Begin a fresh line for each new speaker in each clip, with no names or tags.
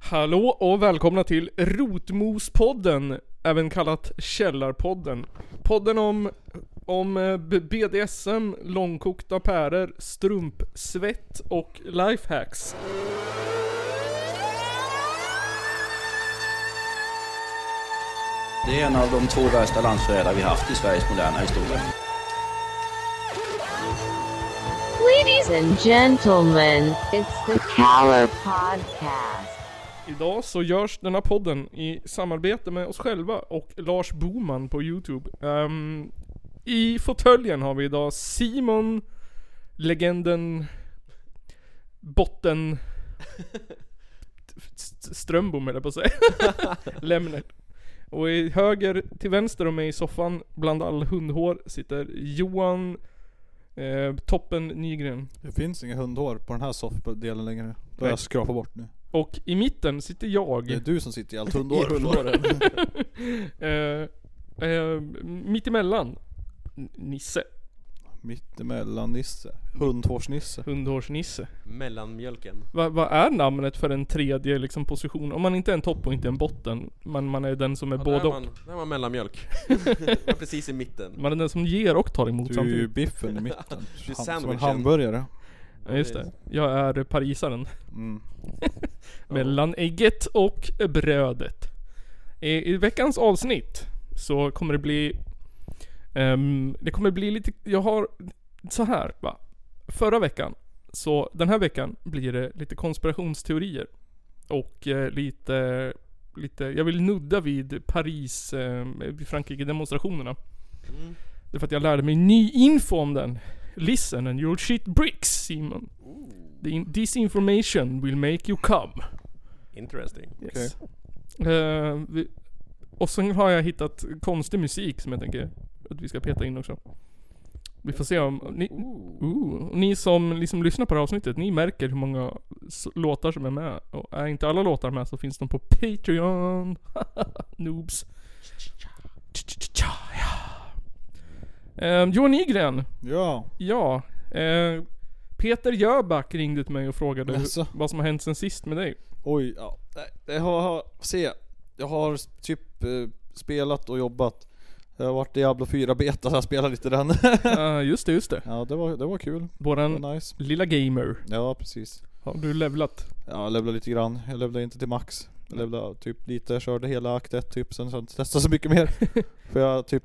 Hallå och välkomna till Rotmospodden, även kallat Källarpodden. Podden om, om eh, B- BDSM, långkokta päror, strumpsvett och lifehacks.
Det är en av de två värsta landsförrädare vi haft i Sveriges moderna historia.
Ladies and gentlemen, it's the Caller Podcast.
Idag så görs denna podden i samarbete med oss själva och Lars Boman på Youtube. Ehm, I fåtöljen har vi idag Simon, legenden, botten, St- Strömbom eller på att säga. Lämnet. Och i höger till vänster om mig i soffan, bland all hundhår, sitter Johan eh, Toppen Nygren.
Det finns inga hundhår på den här soffdelen längre. Det har
Nej.
jag skrapat bort nu.
Och i mitten sitter jag.
Det är du som sitter i allt
I
hundhår.
hundåren.
Eh, eh, mittemellan N- Nisse,
Mittemellan Nisse. Hundhårsnisse.
hundhårsnisse.
Mellanmjölken.
Va- Vad är namnet för en tredje liksom, position? Om man inte är en topp och inte en botten, men man är den som är
Ja,
både
där,
och.
man, där man mellanmjölk. man precis i mitten.
Man är den som ger och tar emot
Typ.
Du är ju
samtidigt.
biffen i mitten.
Du
Han,
är
som en
sandwichen.
hamburgare.
Ja, just det. Jag är parisaren.
Mm.
Mellan ägget och brödet. I, I veckans avsnitt så kommer det bli... ehm, det kommer bli lite... Jag har... Så här va. Förra veckan. Så den här veckan blir det lite konspirationsteorier. Och eh, lite... Lite... Jag vill nudda vid Paris, eh, vid Frankrike-demonstrationerna.
Mm.
Det är för att jag lärde mig ny info om den. Listen and your shit bricks, Simon. The in- this information will make you come.
Interesting.
Yes. Eh, vi, och sen har jag hittat konstig musik som jag tänker att vi ska peta in också. Vi får se om ni, ooh, och ni som liksom lyssnar på det här avsnittet, ni märker hur många s- låtar som är med. Och är inte alla låtar med så finns de på Patreon. Noobs. Eh, Johan Nygren.
Ja.
Ja. eh, Peter Jöback ringde till mig och frågade hur,
Jaså?
vad som har hänt sen sist med dig.
Oj. Ja. Nej, Jag har, har, se. Jag har s- typ eh, spelat och jobbat. Jag har varit i Diablo 4 beta så jag spelar lite den.
Eh, just det, just det.
ja det var, det var kul. Det
Våran
var nice.
lilla gamer.
Ja precis.
Har du levlat?
Ja, jag levlade lite grann. Jag levlade inte till max. Jag levlade typ lite, körde hela akt 1 typ, sen så har jag inte testat så mycket mer. för jag typ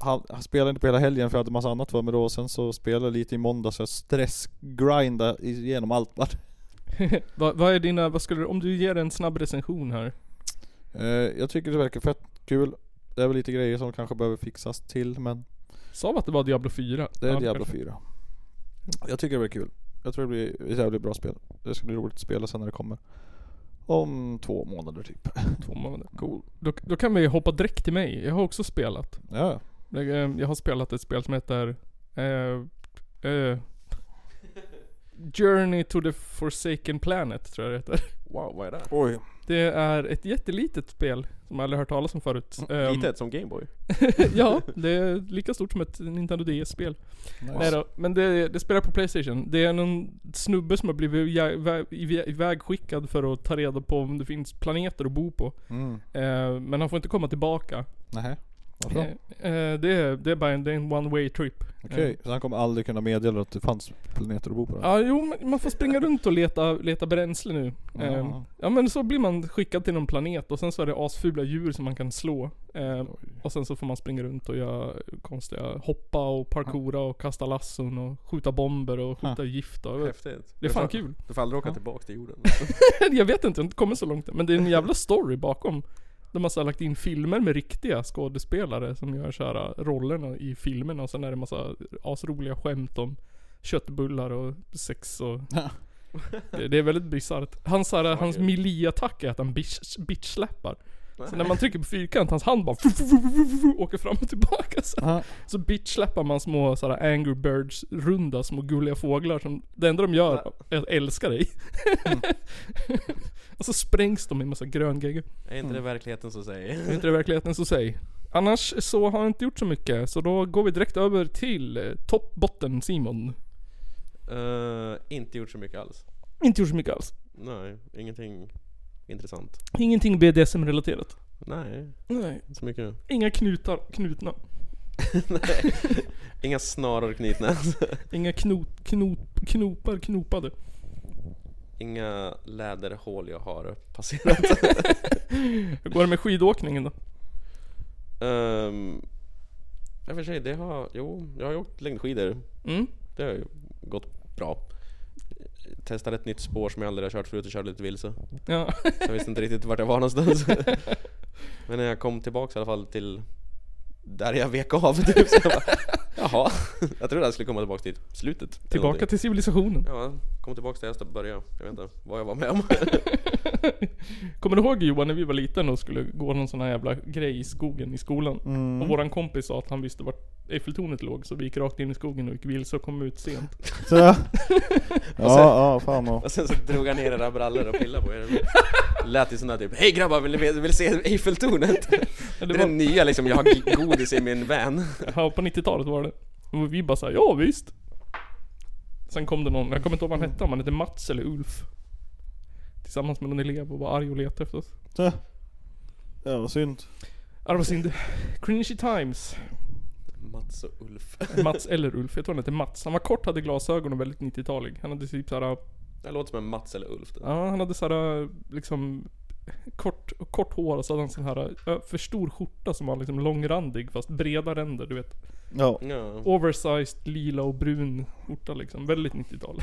han, han spelade inte på hela helgen för jag hade massa annat för mig då. Och sen så spelade jag lite i måndag så jag stressgrindade igenom allt bara.
vad, vad är dina, vad skulle du, om du ger en snabb recension här?
Eh, jag tycker det verkar fett kul. Det är väl lite grejer som kanske behöver fixas till men
Sa vi att det var Diablo 4?
det är
Ja,
Diablo
kanske.
4. Jag tycker det blir kul. Jag tror det blir ett jävligt bra spel. Det ska bli roligt att spela sen när det kommer. Om två månader typ.
Två månader. Cool. Då, då kan vi hoppa direkt till mig. Jag har också spelat.
Ja, ja.
Jag, eh, jag har spelat ett spel som heter... Eh, eh, Journey to the Forsaken Planet, tror jag det heter.
Wow, vad är det?
Oj.
Det är ett jättelitet spel, som jag aldrig hört talas om förut.
Mm,
Ehm,
Litet som Gameboy.
ja, det är lika stort som ett Nintendo DS-spel.
Nice.
Nej då, men det, det spelar på Playstation. Det är någon snubbe som har blivit ja- vä- i- ivägskickad för att ta reda på om det finns planeter att bo på.
Mm.
Eh, men han får inte komma tillbaka.
Nähä. Varför
Eh,
då?
eh, det, är, det är bara en, det är en one way trip. Eh,
Okej, så han kommer aldrig kunna meddela att det fanns planeter att bo på den?
Ja, jo men man får springa runt och leta, leta bränsle nu. Eh,
Ja.
ja men så blir man skickad till någon planet och sen så är det asfula djur som man kan slå. Eh, och sen så får man springa runt och göra konstiga, hoppa och parkoura och kasta lasson och skjuta bomber och skjuta gift och,
Häftigt.
Det är fan kul.
Du får aldrig åka tillbaka till jorden.
Jag vet inte, jag har inte kommit så långt än, Men det är en jävla story bakom. De har så här lagt in filmer med riktiga skådespelare som gör så här äh, rollerna i filmerna och sen är det massa asroliga skämt om köttbullar och sex och... det, det är väldigt bisarrt. Hans, så här- hans melee-attack är att han bitch- bitch-slappar. Så när man trycker på fyrkant, hans hand bara åker fram och tillbaka så här.
Aha.
Så bitch-slappar man små sådana angry birds-runda små gulliga fåglar som, det enda de gör är att älska dig. Mm. och så sprängs de i en massa gröngegg.
Är inte det verkligheten som säger?
Är inte Mm. det verkligheten så säg. Annars så har jag inte gjort så mycket, så då går vi direkt över till eh, topp-botten Simon.
Eh, inte gjort så mycket alls.
Inte gjort så mycket alls.
Nej, ingenting Intressant.
Ingenting BDSM-relaterat.
Nej,
Nej.
inte så mycket.
Inga knutar knutna.
Nej. Inga snaror knutna.
Inga knot, knop, knopar knopade.
Inga läderhål jag har passerat.
Hur går det med skidåkningen då?
um, jag för sig, det har... Jo, jag har ju åkt längdskidor.
Mm.
Det har ju gått bra. Testade ett nytt spår som jag aldrig har kört förut och körde lite vilse.
Ja.
Jag visste inte riktigt vart jag var någonstans. Men när jag kom tillbaks i alla fall till där jag vek av typ. Så jag bara, Jaha, jag trodde jag skulle komma tillbaks till slutet. eller
Tillbaka
någonting.
till civilisationen.
Ja, kom tillbaks där jag började. Jag vet inte vad jag var med om.
Kommer du ihåg Johan när vi var liten och skulle gå någon sån här jävla grej i skogen i skolan?
Mm.
mm.
Och våran kompis sa att han visste vart Eiffeltornet låg, så vi gick rakt in i skogen och gick vilse och kom ut sent.
Sådär. ja, ja, fan och...
Och sen så drog han ner era brallor och pillade på er. Lät ju sån där typ Hej grabbar, vill ni ve- vill se Eiffeltornet?
Ja,
Det
Det
är den
var,
nya liksom, jag har godis i min van.
ja, på 90-talet var det. Och vi bara såhär, ja visst. Sen kom det någon, jag kommer inte ihåg vad han hette, om han hette Mats eller Ulf. Tillsammans med någon elev och var arg och letade efter oss.
Sådär. Ja, vad synd.
Ja, det var synd. Cringy times.
Mats och Ulf.
Mats eller Ulf, jag tror han hette Mats. Han var kort, hade glasögon och väldigt 90-talig. Han hade typ såhär
Det låter som en Mats eller Ulf. det.
Ja, han hade såhär liksom kort, kort hår och så hade han sån här ö, för stor skjorta som var liksom långrandig fast breda ränder, du vet.
Ja.
Ja.
Oversized, lila och brun skjorta liksom. Väldigt 90-tal.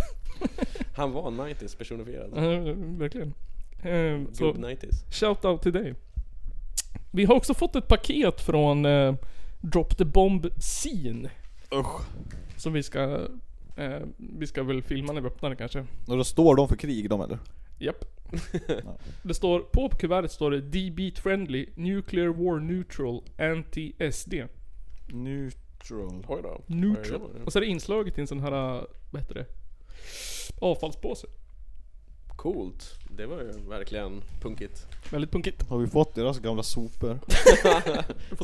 Han var 90s personifierad.
Ja, Verkligen. Eh,
Gubb
Mm, Så
90s.
shout out till dig. Vi har också fått ett paket från eh, Drop the Bomb Scene.
Usch.
Som vi ska, eh, vi ska väl filma när vi öppnar det kanske.
Och då står de för krig de eller?
Japp. det står, på kuvertet står det D-Beat Friendly, Nuclear War Neutral, Anti-SD.
Neutral.
Oj då.
Neutral.
Oj, oj, oj.
Och så är det inslaget i en sån här, äh, vad heter det? Avfallspåse.
Coolt. Det var ju verkligen punkigt.
Väldigt punkigt.
Har vi fått deras gamla sopor?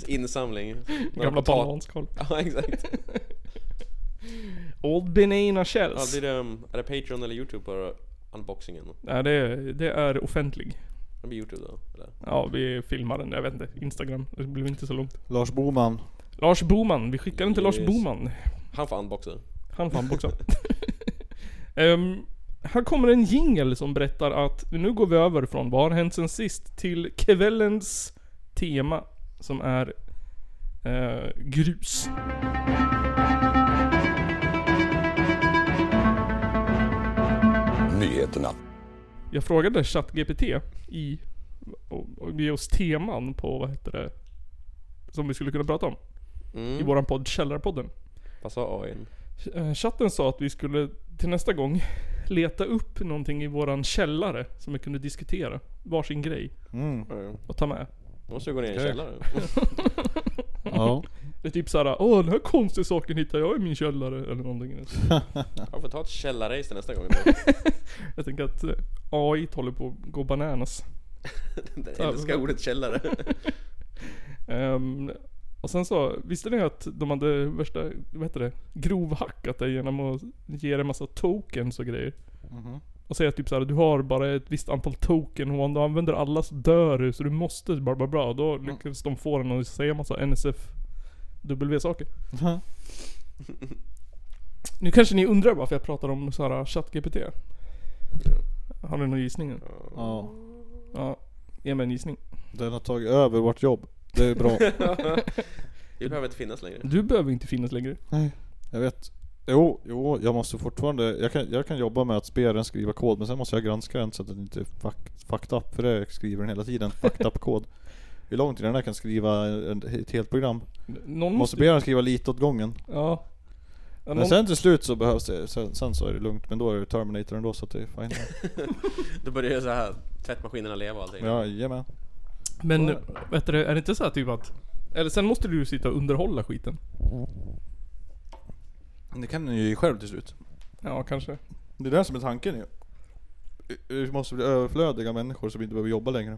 Insamling.
Gamla bananskal.
Ja exakt.
Old Benina
Ja,
Shells.
blir det, um, är det Patreon eller Youtube på unboxingen?
Nej, det är, det är offentlig.
Det blir Youtube då? Eller?
Ja, vi filmar den. Jag vet inte. Instagram. Det blev inte så långt.
Lars Boman.
Lars Boman. Vi skickar den till Lars
Yes.
Boman.
Han får unboxa.
Han fan också. Ehm, här kommer en jingle som berättar att nu går vi över från vad har hänt sen sist till kvällens tema som är eh, grus.
Nyheterna.
Jag frågade ChatGPT i, och, och ge oss teman på vad heter det, som vi skulle kunna prata om i
Mm.
våran podd Källarpodden.
Vad sa AIn?
Eh, Chatten sa att vi skulle till nästa gång leta upp någonting i våran källare som vi kunde diskutera. Varsin grej
Mm.
Mm.
och ta med.
Då måste vi gå ner i en
Okej.
källare.
Ja.
Det är typ såhär, åh den här konstiga saken hittar jag i min källare eller någonting.
Jag får ta ett källarrace till nästa gång.
Jag tänker att eh, AI håller på att gå bananas.
Jag älskar ordet källare.
Ehm, och sen så, visste ni att de hade värsta, vad heter det? Grovhackat dig genom att ge dig massa tokens och grejer.
Mhm.
Och säga typ såhär, du har bara ett visst antal token och om du använder alla så dör du så du måste bla bla bla. Då lyckades de få den att säga massa NSFW saker.
Mhm.
Nu kanske ni undrar varför jag pratar om så här ChatGPT. Har ni någon gissning? eller?
ja.
Ja. Ge mig en gissning.
Den har tagit över vårt jobb. Det är bra.
Vi behöver inte finnas längre.
Du behöver inte finnas längre.
Jag vet. Jo, jo, jag måste fortfarande, jag kan, jag kan jobba med att be den skriva kod men sen måste jag granska den så att den inte är fuck- fucked up för det skriver den hela tiden, fucked up kod. Hur lång tid den här kan skriva en, ett helt program.
Någon
Måste be den skriva lite åt gången.
Ja. ja någon,
Men sen till slut så behövs det, sen, sen så är det lugnt men då är det Terminator ändå så att det är fine.
Då börjar ju så här tvättmaskinerna leva och allting.
Jajamän.
men vet du, är det inte så här typ att... Eller sen måste du ju sitta och underhålla skiten.
Det kan den ju själv till slut.
Ja, kanske.
Det är det som är tanken ju. Vi måste bli överflödiga människor som inte behöver jobba längre.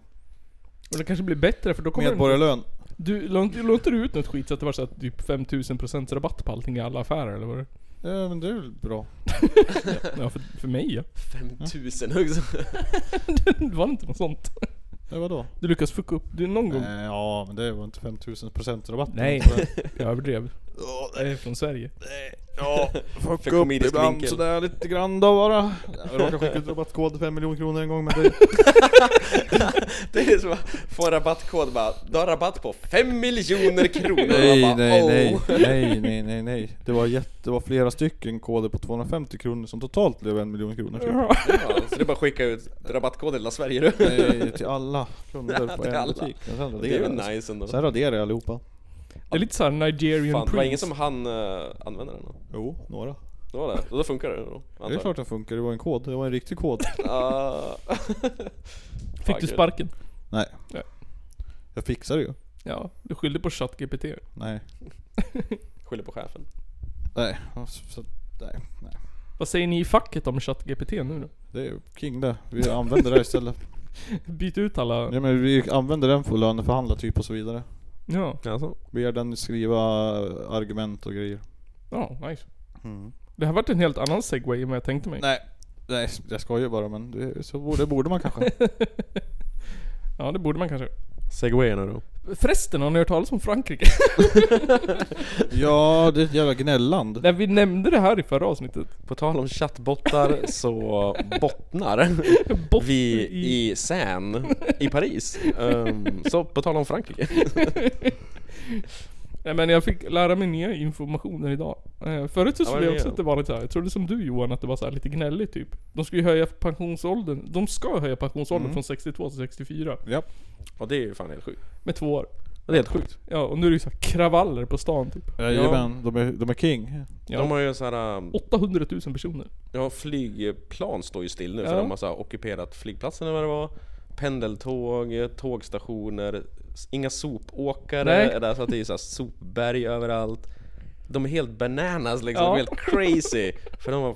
Och det kanske blir bättre för då kommer den,
Medborgarlön.
Du, la inte- la inte du ut något skit så att det var så här, typ 5000% rabatt på allting i alla affärer eller vad det
Ja men det är väl bra.
Ja, för, för mig ja.
5000 också.
Det var inte något sånt.
Nej vadå?
Du lyckas fucka upp det någon gång.
Eh, ja men det var inte 5000 procent rabatt. eh,
Nej. Jag överdrev. Jag är från Sverige.
Ja, fuck
För
upp
komedisk
ibland
vinkel.
sådär lite grann då bara. Jag råkade skicka ut rabattkod 5 miljoner kronor en gång men det...
Det är som att få en rabattkod bara, du har rabatt på 5 miljoner kronor Och
Nej
man bara,
nej
"Oh."
nej, nej nej nej nej. Det var, jätte, det var flera stycken koder på 250 kronor som totalt blev en miljon kronor. Typ.
Ja, så det är bara att skicka ut rabattkoden hela Sverige du.
Nej, till alla kunder på
till
en
alla.
butik. Men sen
Det är ju
raderade
nice ändå.
sen
Fan,
raderade jag allihopa.
Det är lite såhär Nigerian
det var
Prince.
ingen som han uh, använde den då?
Jo, några.
Det var det? Då funkar det då? antar
Det är
jag.
klart den funkar, det var en kod. Det var en riktig kod.
Ah.
Fick du
Fan,
sparken?
Nej.
Nej.
Jag fixar det ju.
Ja, du skyllde på ChatGPT.
Nej.
gud. Skyller på chefen.
Nej. Så, så, nej. nej.
Vad säger ni i facket om ChatGPT nu då?
Det är ju king det. Vi använder det här istället.
Byt ut alla...
Ja, men vi använder den för att löneförhandla typ och så vidare.
Ja.
Alltså.
Ber den skriva argument och grejer.
Ja, nice.
Mm.
Det här varit en helt annan segway än vad jag tänkte mig.
Nej. Nej, jag skojar bara men det, så borde, det borde man kanske.
Ja, det borde man kanske.
Segway nu då.
Förresten, har ni hört talas om Frankrike?
ja, det är ett jävla gnälland.
Nej, vi nämnde det här i förra avsnittet.
På tal om chattbottar så bottnar
Bott
vi i Seine i Paris. Ehm, så på tal om Frankrike.
Nej men jag fick lära mig nya informationer idag. Eh, förut så
Ja, vad
trodde
är
jag
det?
också att det var lite så här. jag trodde som du Johan att det var så här lite gnälligt typ. De ska ju höja pensionsåldern, de ska höja pensionsåldern
Mm.
från 62 till 64.
Ja.
Och det är ju fan helt sjukt.
Med två år.
Det är helt sjukt.
Ja och nu är det ju så här kravaller på stan typ.
Jajamän, de är, de är king.
Ja.
De har ju så här, ehm,
800 000 personer.
ja flygplan står ju still nu
Ja.
för de har så här ockuperat flygplatsen eller vad det var. Pendeltåg, tågstationer, s- inga sopåkare
Nej.
är där så att det är så här sopberg överallt. De är helt bananas liksom,
Ja.
de är helt crazy. För de var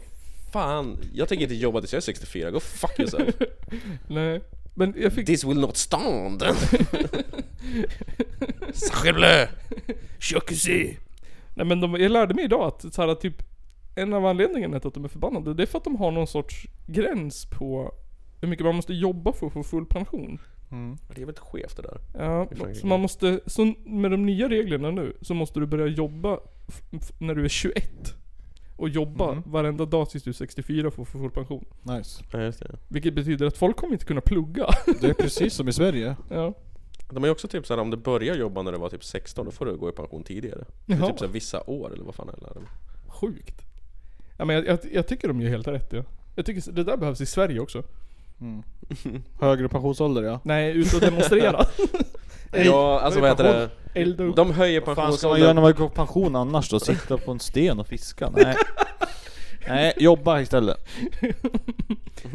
Fan, jag tänker inte jobba tills jag är 64, go fuck yourself.
Nej. Men jag fick...
This will not stand! Sacre bleu!
Chocusi! Nej men de, jag lärde mig idag att så här, att typ en av anledningarna till att de är förbannade, det är för att de har någon sorts gräns på hur mycket man måste jobba för att få full pension.
Mm.
Det är väldigt skevt det där.
Ja,
I Frankrike.
så man måste, så med de nya reglerna nu, så måste du börja jobba f- f- när du är 21. Och jobba
Mhm.
varenda dag tills du är 64 för att få full pension.
Nice.
Ja, just det.
Vilket betyder att folk kommer inte kunna plugga.
Det är precis som i Sverige.
ja.
De är ju också typ såhär, om du börjar jobba när du var typ 16, då får du gå i pension tidigare. Det är
Jaha.
typ såhär vissa år eller vad fan är det?
Sjukt. Ja, men jag, jag, jag tycker de gör helt rätt ja. Jag tycker s- det där behövs i Sverige också.
Högre pensionsålder ja.
Nej, ut och demonstrera.
Ja, alltså vad heter det?
Elda upp.
De höjer
Fan ska man göra när
pensionsåldern.
man går i pension annars då? Sitta på en sten och fiska? Nej. Nej, jobba istället.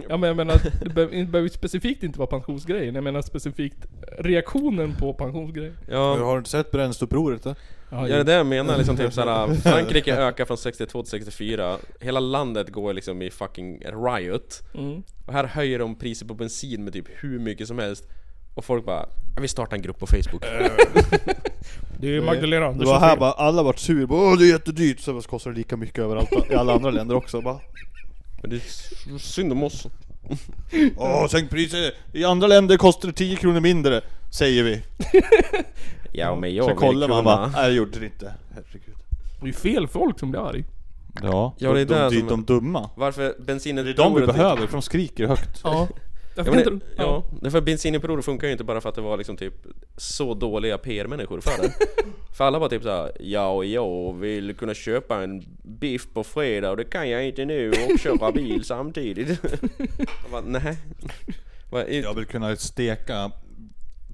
Ja men jag menar, det behöver det behöver ju specifikt inte vara pensionsgrejen. Jag menar specifikt reaktionen på pensionsgrejen.
Ja,
Har du inte sett Brännstaupproret? eh?
Ja,
ja, det är det jag menar liksom typ såhär, Frankrike ökar från 62 till 64. Hela landet går liksom i fucking riot.
Mm.
Och här höjer de priset på bensin med typ hur mycket som helst. Och folk bara, "Ja, vi startar en grupp på Facebook.
Det är Magdalena
Det
Andersson
var här bara, alla vart sur, bara, Åh, det är jättedyrt, sen kostar det lika mycket överallt i alla andra länder också bara,
Men det är s- synd om oss.
Åh sänk priset! I andra länder kostar det 10 kronor mindre, säger vi.
Ja men
Sen
jag
kollar man bara, äh. nej det gjorde det inte. Herregud.
Det är ju fel folk som blir arg.
Ja,
Ja, det är
de,
det
de,
som-
de dumma.
Varför bensinen...
Det är de vi behöver, för de skriker högt.
Ja.
Ja,
Därför
men
kan
det,
inte,
ja, det är för bensinupproret funkar ju inte bara för att det var liksom typ så dåliga PR-människor för det. för alla var typ såhär, ja och jag vill kunna köpa en biff på fredag och det kan jag inte nu och köra bil samtidigt. jag bara, nej. Vad är-
Jag vill kunna steka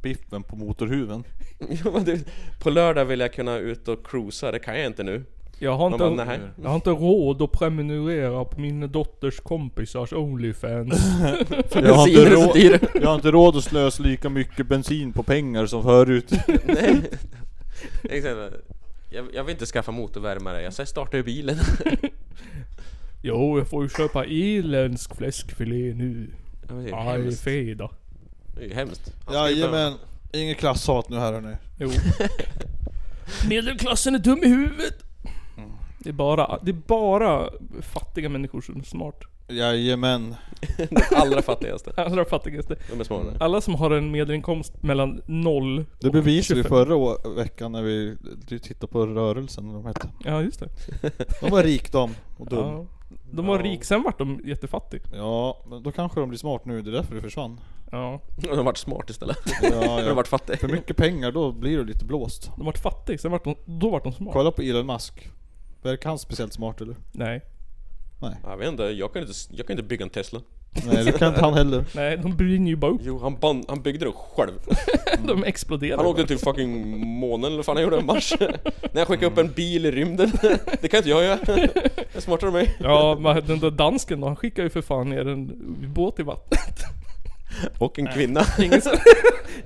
biffen på motorhuven.
Jag bara, du, På lördag vill jag kunna ut och cruisa, det kan jag inte nu.
Jag har,
Man
inte,
bara, nej.
jag har inte råd att prenumerera på min dotters kompisars Onlyfans.
Jag har, inte
Bensinen är så
råd,
dyr.
jag har inte råd att slösa lika mycket bensin på pengar som förut.
Nej. Exakt. Jag, jag vill inte skaffa motorvärmare, jag säger starta ur bilen.
jo, jag får ju köpa irländsk fläskfilé nu.
Ja, men det är ju
Aj,
hemskt.
fredag.
Det är ju hemskt. Han ska ju behöva-
Jajamän, inget klasshat nu här hörni.
Jo.
Mm.
Medelklassen är dum i huvudet. Det är bara, det är bara fattiga människor som är smart.
Jajamän.
De allra fattigaste.
Allra fattigaste.
De är smartare.
Alla som har en medelinkomst mellan 0
Det
och
bevisade vi
25.
förra å- veckan när vi du tittade på rörelsen, vad de hette.
Ja, just det.
De var rikdom och dum.
Ja. De var
Ja.
rik, sen vart de jättefattig.
Ja, men då kanske de blir smart nu, det är därför det försvann.
Ja.
De har varit smart istället.
Ja,
De har
ja.
varit fattiga.
För mycket pengar, då blir du lite blåst.
De vart fattig, sen vart de, då vart de smart.
Kolla på Elon Musk. Verkar han speciellt smart eller?
Nej.
Jag vet inte, jag kan inte, jag kan inte bygga en Tesla.
Nej, det kan inte han heller.
Nej, de brinner ju bara upp.
Jo, han, ban- han byggde den själv.
De exploderar.
Han
bara.
åkte till fucking månen eller vad fan han gjorde, Mars. När jag skickade upp en bil i rymden. Det kan inte jag göra. Jag är smartare än mig.
Ja, men den där dansken då, han skickar ju för fan ner en båt i vattnet.
Och en kvinna.
Ingen som,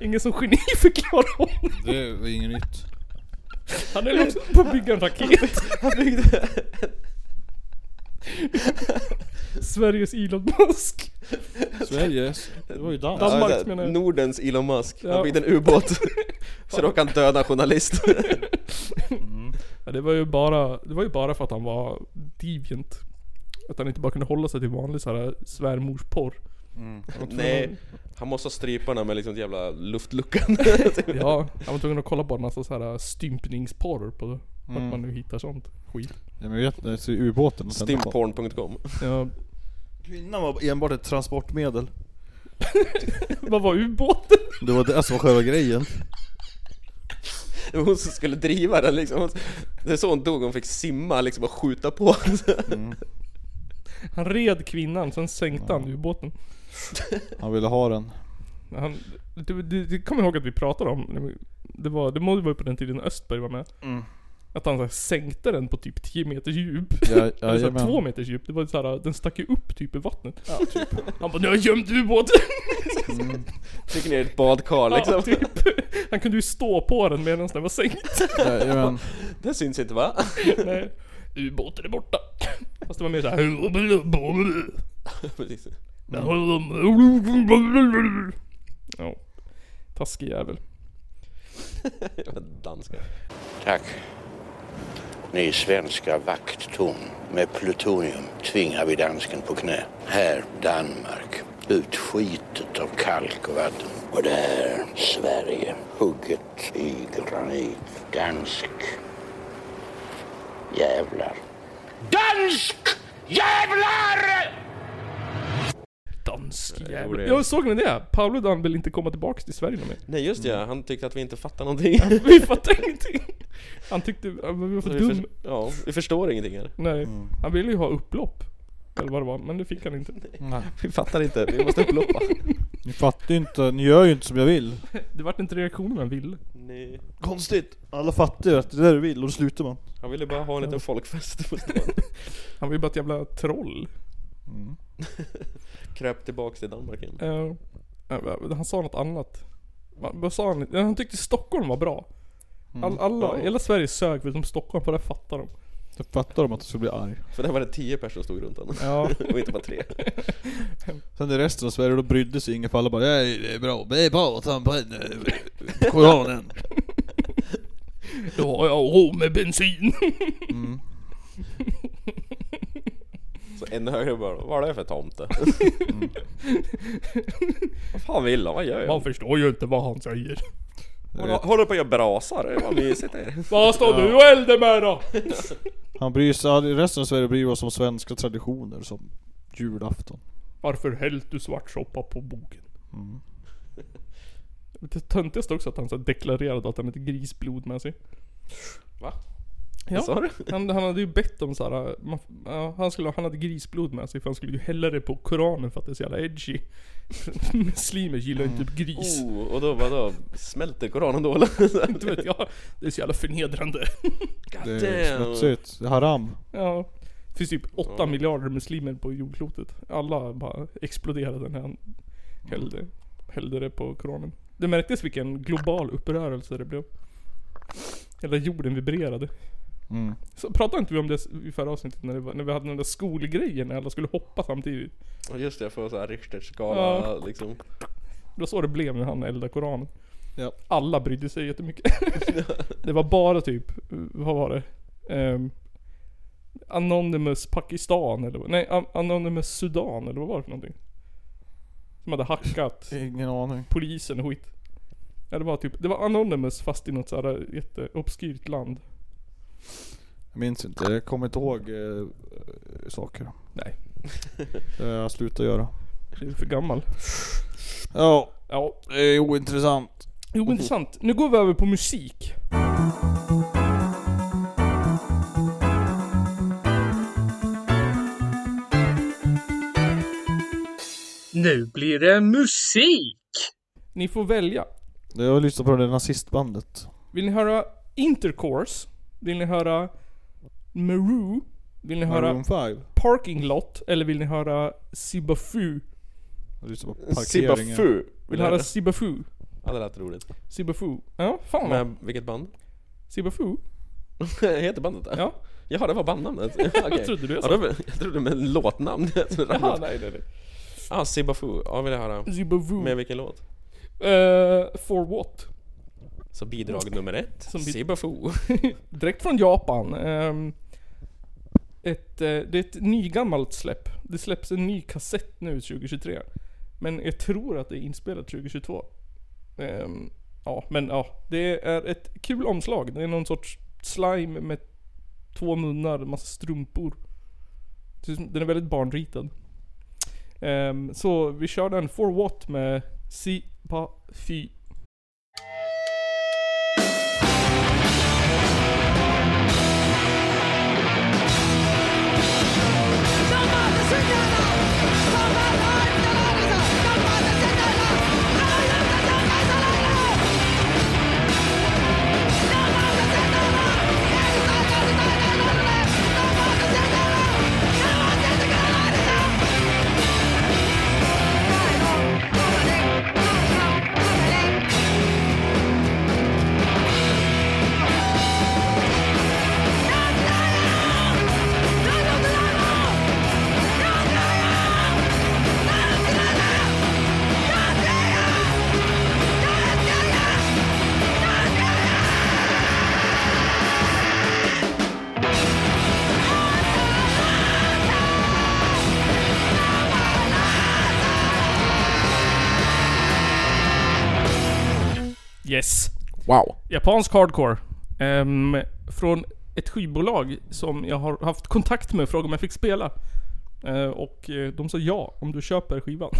ingen som geniförklarar honom.
Det är inget nytt.
Han är också på att bygga en raket.
Han byggde...
Sveriges Elon Musk.
Sveriges. Det var ju dans.
Danmark
Ja, det-
menar jag.
Nordens Elon Musk.
Ja.
Han byggde en ubåt. Så då kan han döda en journalist.
Ja, det, var ju bara, det var ju bara för att han var deviant. Att han inte bara kunde hålla sig till vanlig så här svärmorsporr.
Nej. Han måste ha stryparna med liksom jävla luftluckan.
Ja, han var tvungen att kolla på en massa så här stympningsporr på vart man nu hittar sånt skit.
Ja, men vet ni, så är ubåten och sen-
Stimporn.com.
Ja,
Kvinnan var enbart ett transportmedel.
vad var ubåten?
Det var det som var själva grejen.
Det var hon som skulle driva den liksom. Hon- Det är så hon dog, hon fick simma liksom och skjuta på.
Han red kvinnan, sen sänkte han ubåten.
Han ville ha den.
Han, det, det, det kommer jag ihåg att vi pratade om. när vi- Det var, det måste vara på den tiden Östberg var med. Att han så här, sänkte den på typ 10 meters djup.
Ja,
Eller så här,
jajamän.
två meters djup. Det var så här, den stack ju upp typ i vattnet. Han bara 'Nu har jag gömt ubåten'
Fick ner i ett badkar
ja,
liksom.
typ. Han kunde ju stå på den medan den var sänkt.
Jajamän.
Det syns inte va?
Nej. Ubåten är borta. Fast det var mer såhär...
Precis.
Ja. Taskig jävel.
Jävla danska.
Tack. Ni svenska vakttorn. Med plutonium tvingar vi dansken på knä. Här Danmark. Ut skitet av kalk och vatten. Och där Sverige. Hugget i granit. Dansk. Jävlar. Dansk! Jävlar!
Dansk
Jo,
jävel.
det är-
Eh, Jag såg ni det? Paolo Dan vill inte komma tillbaka till Sverige mer.
Nej just ja, han tyckte att vi inte fattar någonting.
Vi fattar ingenting. Han tyckte att vi var för
Vi
dum.
förs- ja, vi förstår ingenting här.
Nej. Han ville ju ha upplopp. Eller vad det var, men det fick han inte.
Vi fattar inte, vi måste upploppa.
Ni fattar ju inte, ni gör ju inte som jag vill.
Det vart inte reaktionen han ville.
Nej.
Konstigt. Alla fattar ju att det är det du vill och då slutar man.
Han ville bara ha en liten folkfest på stan.
Han var ju bara ett jävla troll.
Kröp tillbaks till Danmark igen.
Eh, eh, han sa något annat. Va- Vad sa han? Eh, Han tyckte Stockholm var bra. All, alla,
Ja.
Hela Sverige sög förutom Stockholm, för det fattar de.
Då fattar de att du skulle bli arg.
För där var det tio personer som stod runt honom.
Ja.
Och inte bara tre.
Sen i resten av Sverige, då brydde sig ingen för alla bara Nej det är bra, det är bra att han bränner eh, Koranen.
Då har jag råd med bensin.
Så en högre bara, vad är det för tomte? vad fan vill han? Vad gör
Man
jag?
förstår ju inte vad han säger.
Håller håller på att göra brasar? Vad mysigt det är.
Vad står du och eldar med då?
Han bryr sig, all- i resten av Sverige bryr oss om svenska traditioner som julafton.
Varför hällt du svartsoppa på boken? Det töntigaste också att han så här deklarerade att han hade grisblod med sig.
Va?
Ja.
Sa du?
Han, han hade ju bett om så här, man, ja, han, skulle, han hade grisblod med sig för han skulle ju hälla det på koranen för att det är så jävla edgy. Muslimer gillar ju inte gris.
Oh, och då vadå? Smälter koranen då eller?
Inte vet jag. Det är så jävla förnedrande.
Det är smutsigt, det är haram.
Ja. Det finns typ 8 miljarder muslimer på jordklotet. Alla bara exploderade när han hällde, hällde det på koranen. Det märktes vilken global upprörelse det blev. Hela jorden vibrerade.
Mm.
Så pratade inte vi om det i förra avsnittet när, det var, när vi hade den där skolgrejen när alla skulle hoppa samtidigt?
Och just det, jag får såhär Richterskala
Ja.
liksom.
Det var så det blev när han eldade koranen.
Ja.
Alla brydde sig jättemycket. det var bara typ, vad var det? Ehm, Anonymous Pakistan eller vad- Nej, An- Anonymous Sudan eller vad var det för någonting? Som hade hackat
Ingen aning.
polisen och skit. Ja, det var typ, det var Anonymous fast i något sådär jätteobskyrt land.
Jag minns inte, jag kommer inte ihåg eh, saker.
Nej.
Det har jag slutat göra.
Du är för gammal.
Ja,
Ja,
det är ointressant.
Jo, intressant. Nu går vi över på musik.
Nu blir det musik!
Ni får välja.
Jag har lyssnat på det där nazistbandet.
Vill ni höra Intercourse? Vill ni höra Meru? Vill ni höra
Maroon 5.
Parking Lot? Eller vill ni höra Sibafu?
Jag lyssnade på parkeringen.
Sibafu!
Vill
Vill
ni
du
höra
höra?
Sibafu?
Ja, det lät roligt.
Sibafu? Ja, fan vad.
Men vilket band?
Sibafu?
Heter bandet det?
Ja.
Jaha, det var bandnamnet? Ja, okej.
Jag trodde du jag
Ja,
sa.
det var- jag trodde med låtnamn.
Jaha, nej nej nej.
ah, Sibafu. Ja, vill jag höra.
Sibafu.
Med vilken låt?
Eh, for what?
Så bidrag nummer ett.
Som bid-
Sibafu.
Direkt från Japan. Ehm, ett, eh, det är ett nygammalt släpp. Det släpps en ny kassett nu 2023. Men jag tror att det är inspelat 2022. Ehm, ja, men ja. Det är ett kul omslag. Det är någon sorts slime med två munnar, massa strumpor. Det ser ut som- Den är väldigt barnritad. Ehm, så vi kör den For What med Si Pa Fy. Yes.
Wow.
Japansk hardcore. Ehm, från ett skivbolag som jag har haft kontakt med och frågat om jag fick spela. Eh, och eh, de sa ja, om du köper skivan.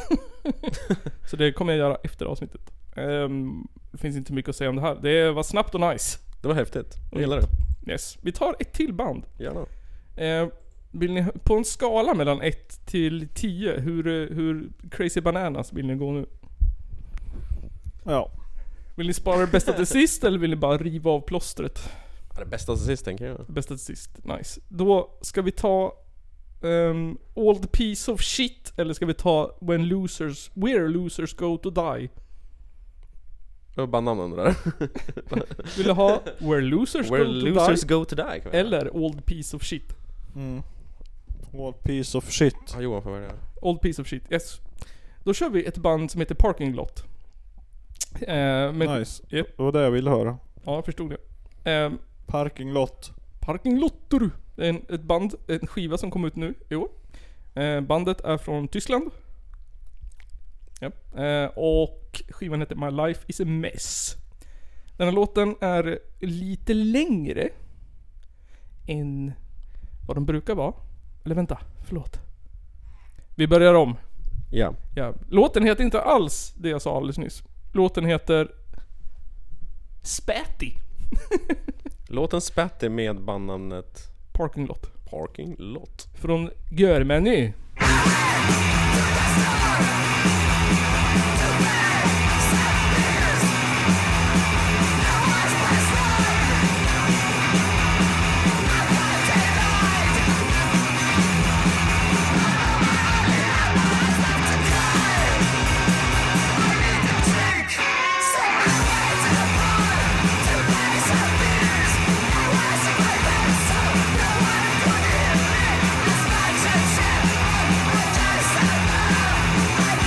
Så det kommer jag göra efter avsnittet. Ehm, det finns inte mycket att säga om det här. Det var snabbt och nice.
Det var häftigt. Jag gillar det.
Yes. Vi tar ett till band.
Gärna.
Eh, vill ni, på en skala mellan 1 till 10, hur, eh, hur crazy bananas vill ni gå nu?
Ja.
Vill ni spara det bästa till sist eller vill ni bara riva av plåstret?
Ja, Det bästa till sist tänker jag.
Bästa till sist, nice. Då ska vi ta um, All the piece of shit, eller ska vi ta When losers, where losers go to die?
Det var bandnamnen det där.
Vill du ha Where losers
Where
go
losers
to die?
go to die. kan vi-
Eller All the piece of shit?
Mm. All piece of shit.
Ja, Johan får välja.
All piece of shit, yes. Då kör vi ett band som heter Parking Lot. Eh, men,
nice.
Japp.
Det var det jag ville höra.
ja jag förstod det. Ehm,
Parking lot.
Parking Lottor. Det är en, ett band, en skiva som kom ut nu i år. Eh, bandet är från Tyskland. Ja. Eh, och skivan heter My Life Is A Mess. Den här låten är lite längre än vad de brukar vara. Eller vänta, förlåt. Vi börjar om.
Ja.
Ja. Låten heter inte alls det jag sa alldeles nyss. Låten heter... Späti.
Låten Spatty med bandnamnet
Parking Lot.
Parking Lot.
Från Görmeny.
I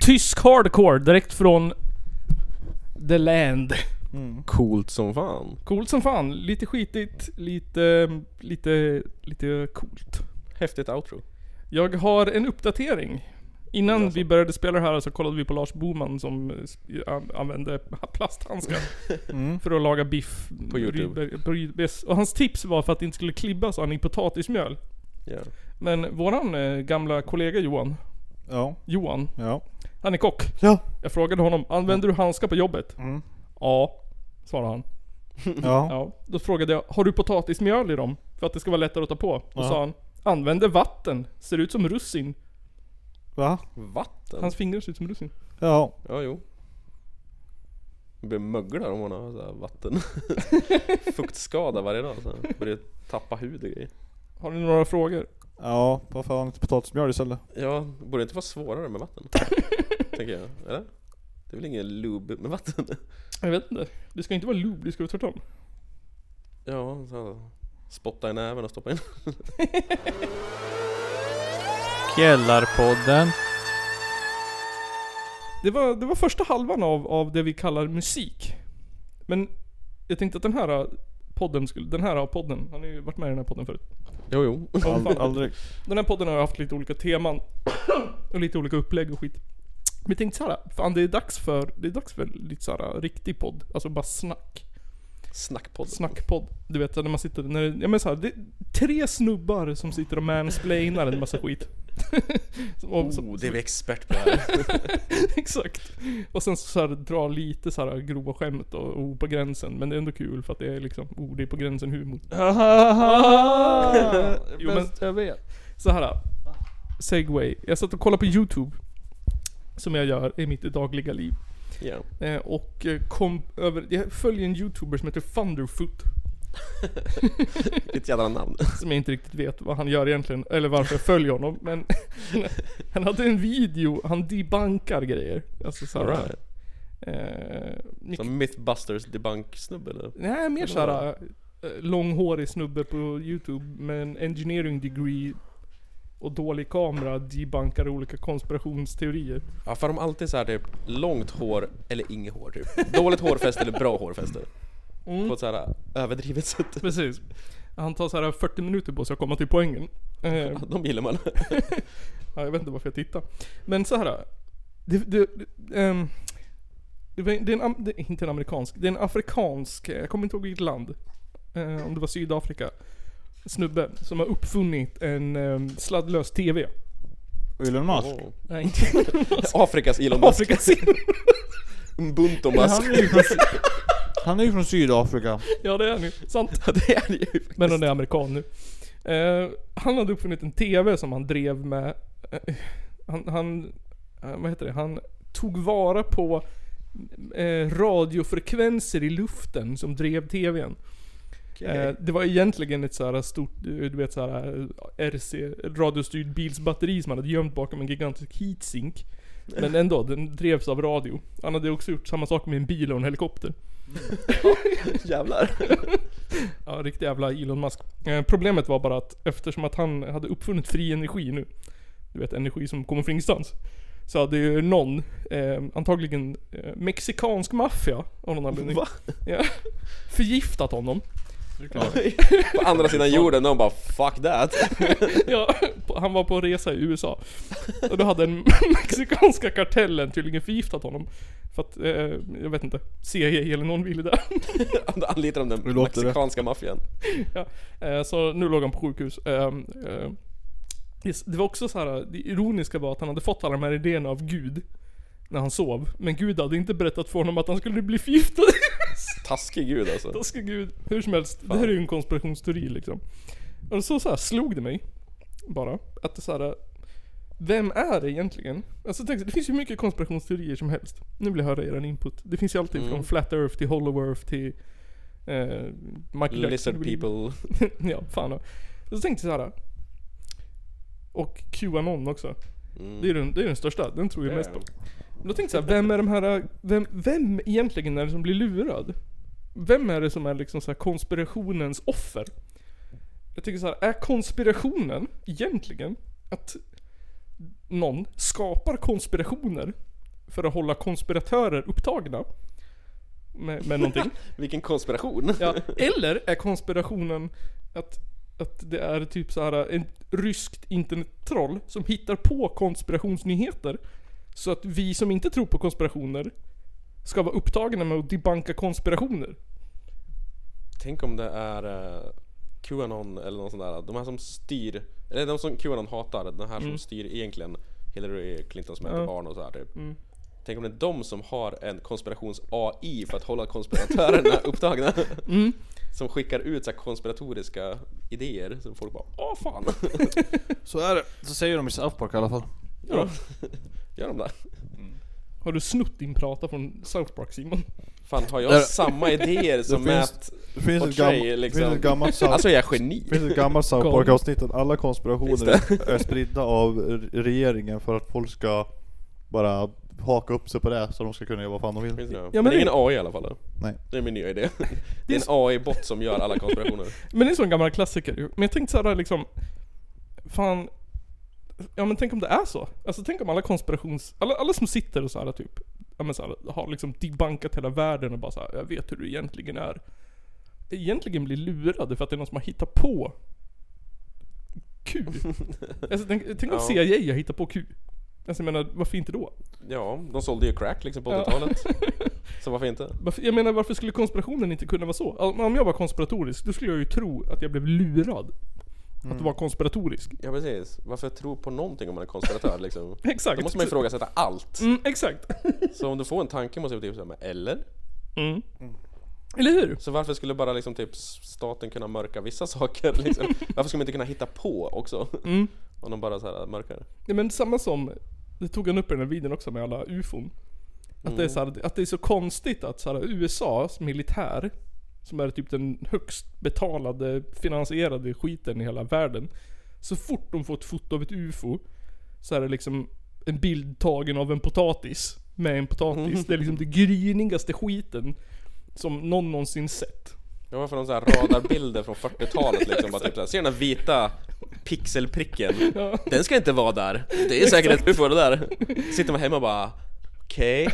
Tysk hardcore direkt från the land.
Mm.
Coolt som fan.
Coolt som fan. Lite skitigt, lite, lite, lite coolt.
Häftigt outro.
Jag har en uppdatering. Innan vi började spela det här så kollade vi på Lars Boman som eh, s- an- använde plasthandskar.
Mm.
För att laga biff.
På YouTube.
Rydberg- på Ryd- yes. Och hans tips var för att det inte skulle klibba så han i potatismjöl.
Ja.
Men våran eh, gamla kollega Johan,
Ja,
Johan,
ja.
han är kock.
Ja.
Jag frågade honom, använder du handskar på jobbet?
Mm.
Ja, svarade han.
Ja.
Ja, då frågade jag, har du potatismjöl i dem? För att det ska vara lättare att ta på. Då
Ja.
sa han, använder vatten. Ser ut som russin.
Va?
Vatten?
Hans fingrar ser ut som russin.
Ja.
Ja, jo. Det blir möglar om man har så här vatten. Fuktskada varje dag. Så här. Börjar tappa hud och grejer.
Har ni några frågor?
Ja, varför har han inte potatismjöl istället?
Ja, borde det inte vara svårare med vatten? tänker jag. Eller? Det är väl ingen lube med vatten?
Jag vet inte. Det ska inte vara lube, det ska vara tvärtom.
ja, så. Spotta i näven och stoppa in.
Källarpodden.
Det var, det var första halvan av, av det vi kallar musik. Men jag tänkte att den här äh, podden skulle, den här äh, podden, han har ju varit med i den här podden förut.
Jo, jo.
Ja, vad
Ald-
fan.
aldrig.
Den här podden har haft lite olika teman och lite olika upplägg och skit. Men jag tänkte såhär, fan det är dags för, det är dags för lite såhär riktig podd. Alltså bara snack.
Snackpodd.
Snackpodd. Du vet när man sitter, när, ja men såhär, det är tre snubbar som sitter och mansplainar en massa skit. Som- och- som-
Oh, det är vi expert på här.
Exakt. Och sen så, så här, dra lite så här grova skämt och, och på gränsen. Men det är ändå kul för att det är liksom, oh det är på gränsen humor. jo, men,
jag vet.
så här. Segway. Jag satt och kollade på YouTube. Som jag gör i mitt dagliga liv.
ja.
Eh, och eh, kom över, jag följer en YouTuber som heter Thunderfoot.
Vilket jävla namn.
Som jag inte riktigt vet vad han gör egentligen, eller varför jag följer honom. Men han hade en video, han debankar grejer. Alltså såhär...
Alright.
Eh, mycket-
Som Mythbusters debunk-snubbe eller?
Nej, mer
Eller vad?
såhär eh, långhårig snubbe på youtube med en engineering degree och dålig kamera debankar olika konspirationsteorier.
Ja för de har alltid så här typ långt hår eller inget hår typ. Dåligt hårfäste eller bra hårfäste.
Mm.
På ett så här överdrivet sätt.
Precis. Han tar såhär 40 minuter på sig att komma till poängen. Eh, ja,
De gillar man.
jag vet inte varför jag tittar. Men så här. Det, det, det, ehm, det, var- det är en, am- det, är inte en amerikansk, det är en afrikansk, jag kommer inte ihåg vilket land. Eh, om det var Sydafrika. Snubbe som har uppfunnit en um, sladdlös TV.
Elon Musk?
Åh.
Nej, inte
Afrikas Elon Musk.
Afrikas
Ubuntu
Han
Musk.
är ju från, Sy- han är ju från Sydafrika.
Ja det är han ju. Sant.
Ja, det är det ju.
Men han är amerikan nu. Eh, han hade uppfunnit en TV som han drev med... eh, han, han... eh, Vad heter det? Han tog vara på eh, radiofrekvenser i luften som drev TVn. Eh, det var egentligen ett så här stort, eh, du vet så här eh, RC, radiostyrd bilsbatteri som han hade gömt bakom en gigantisk heatsink. Men ändå, den drevs av radio. Han hade också gjort samma sak med en bil och en helikopter.
Jävlar.
Ja, riktig jävla Elon Musk. Eh, problemet var bara att eftersom att han hade uppfunnit fri energi nu, du vet energi som kommer från ingenstans, så hade ju någon, eh, antagligen eh, mexikansk maffia av någon anledning,
Va?
ja, förgiftat honom.
På andra sidan jorden, de bara 'fuck that'
Ja, på- han var på resa i USA. Och då hade den mexikanska kartellen tydligen förgiftat honom. För att, eh, jag vet inte, CIA eller någon ville det.
Då anlitar de den
låter det?
mexikanska maffian.
Ja, eh, så nu låg han på sjukhus. Ehm, eh, yes, Det var också så här, det ironiska var att han hade fått alla de här idéerna av Gud. När han sov. Men Gud hade inte berättat för honom att han skulle bli förgiftad.
Taskig gud alltså.
Då ska Gud, hur som helst, det här är ju en konspirationsteori liksom. Och så, så här slog det mig. Bara. Att det så här. Vem är det egentligen? Alltså tänk, det finns ju mycket konspirationsteorier som helst. Nu vill jag höra er input. Det finns ju alltid
Mm.
från Flat Earth till Hollow Earth till... Eh, Michael
Lizard
Jackson.
people.
ja, fan då. Så tänkte jag så här. Och Qanon också. Det
Mm.
är den, det är den största, den tror jag mest på. Men då tänkte jag så här, vem är de här, vem, vem egentligen är det som blir lurad? Vem är det som är liksom så här konspirationens offer? Jag tycker så här, är konspirationen egentligen att någon skapar konspirationer för att hålla konspiratörer upptagna. Med, med någonting.
Vilken konspiration!
Ja, eller är konspirationen att, att det är typ så här en ryskt internettroll som hittar på konspirationsnyheter. Så att vi som inte tror på konspirationer ska vara upptagna med att debanka konspirationer.
Tänk om det är eh, Qanon eller någon sån där, de här som styr, eller de som Qanon hatar, den här som styr egentligen Hillary Clinton som äter barn och så här typ. Tänk om det är de som har en konspirations-AI för att hålla konspiratörerna upptagna. Som skickar ut så här konspiratoriska idéer som folk bara Åh fan!
Så är det. Så säger de i South Park i alla fall.
Ja. Gör de det?
Har du snott din prata från South Park Simon?
Fan har
Där-
jag samma idéer som
finns-
Matt
Det finns ett,
Portray,
gammalt,
liksom.
det finns ett gammalt South,
Alltså jag är geni!
det finns ett gammalt South
Kom.
Park avsnitt att alla konspirationer
Finns
är, är spridda av r- regeringen för att folk ska bara haka upp sig på det så de ska kunna göra vad fan de vill.
Finns det? Ja,
men
men det är
det-
ingen AI i alla fall.
Nej.
Det är min nya idé. Det är en AI-bot som gör alla konspirationer.
Men det är en sån gammal klassiker ju. Men jag tänkte såhär liksom, fan. Ja men tänk om det är så. Alltså tänk om alla konspirations... Alla, alla som sitter och så här typ, ja men så här, har liksom debankat hela världen och bara så här, jag vet hur du egentligen är. Egentligen blir lurade för att det är någon som har hittat på Q. Alltså tänk, tänk om
Ja.
CIA har hittat på Q. Alltså jag menar, varför inte då?
Ja, de sålde ju crack liksom på
Ja.
80-talet. Så varför inte?
Varför, jag menar varför skulle konspirationen inte kunna vara så? Om om jag var konspiratorisk, då skulle jag ju tro att jag blev lurad. Att vara konspiratorisk.
Ja precis. Varför tro på någonting om man är konspiratör liksom?
Exakt.
Då måste man ifrågasätta allt.
Mm, exakt.
Så om du får en tanke måste du typ säga men eller?
Mm. Eller hur?
Så varför skulle bara liksom typ staten kunna mörka vissa saker liksom? Varför skulle man inte kunna hitta på också? Om de bara så här mörkar.
Nej, men samma som, det tog han upp i den här videon också med alla ufon. Att, det, är så
Mm.
här, att det är så konstigt att så här, USAs militär, som är typ den högst betalade, finansierade skiten i hela världen. Så fort de får ett foto av ett ufo, så är det liksom en bild tagen av en potatis. Med en potatis. Det är liksom det grynigaste skiten som någon någonsin sett.
Ja varför har de så här radarbilder från 40-talet liksom? Bara typ så här, ser den här vita pixelpricken? Den ska inte vara där. Det är säkert ett ufo det där. Sitter man hemma och bara Okej,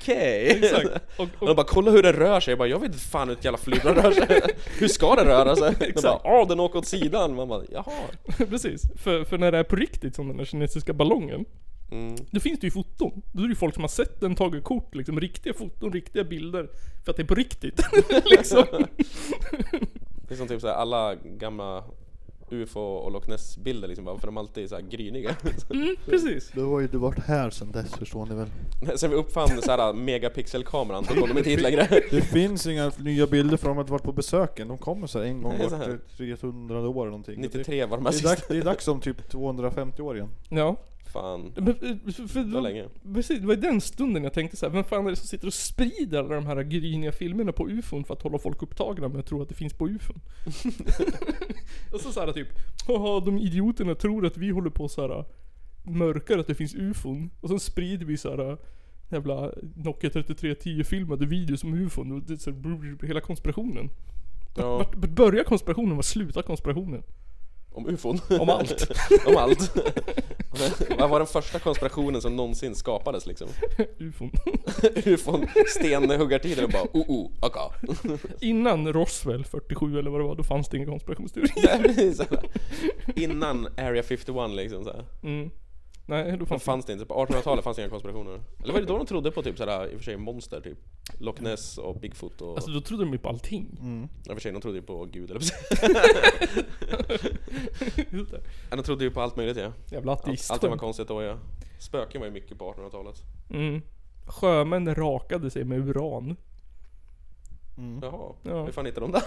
okej.
Exakt. Och,
Och de bara kolla hur den rör sig, jag bara jag vet inte fan hur ett jävla flygplan rör sig Hur ska den röra sig? De bara åh den åker åt sidan, man bara jaha
Precis. För, för när det är på riktigt som den där kinesiska ballongen.
Mm.
Då finns det ju foton. Då är det ju folk som har sett den, tagit kort, liksom riktiga foton, riktiga bilder. För att det är på riktigt. liksom.
Det är som typ såhär alla gamla UFO och Loch Ness bilder liksom bara, för de alltid är såhär gryniga
Mm.
Precis.
Du har ju varit här sen dess förstår ni väl?
Sen vi uppfann såhär megapixelkameran då kom de inte hit längre
Det finns inga nya bilder för de har inte varit på besöken. De kommer så här en gång
Det är så här.
vart 300 år eller någonting. Det
93 var de här
är, dags,
sista
det är dags om typ 250 år igen.
Ja.
Fan
Men, eh, för, för,
Det var länge.
Precis, det var i den stunden jag tänkte så här, vem fan är det som sitter och sprider alla de här gryniga filmerna på ufon för att hålla folk upptagna med att tro att det finns på ufon? och så såhär typ, haha de idioterna tror att vi håller på så här mörkar att det finns ufon. Och sen sprider vi så här jävla Nokia 3310 filmade videos om ufon och det är så här, brr, brr, hela konspirationen.
ja,
Vart vart börjar konspirationen? Var slutar konspirationen?
Om ufon,
Om allt.
om allt Vad var den första konspirationen som någonsin skapades liksom?
ufon.
Ufon, stenhuggartider och bara oh oh, aka
Innan Roswell 47 eller vad det var, då fanns det ingen konspirationsteori.
Det blir så här. Innan Area 51 liksom så här.
Mm. Nej, då
Då
fanns,
fanns det inte, på 1800-talet fanns det inga konspirationer Eller var det då de trodde på typ såhär, i och för sig monster typ? Loch Ness och Bigfoot och...
Alltså då trodde de ju på allting.
Mm.
I och för sig, de trodde ju på gud eller
Just det.
Ja, De trodde ju på allt möjligt ja
Jävla
allt,
ateist.
Allting var konstigt då ja Spöken var ju mycket på 1800-talet
mm. Sjömän rakade sig med uran.
Mm.
Jaha,
Mm. Ja.
hur fan hittade de där?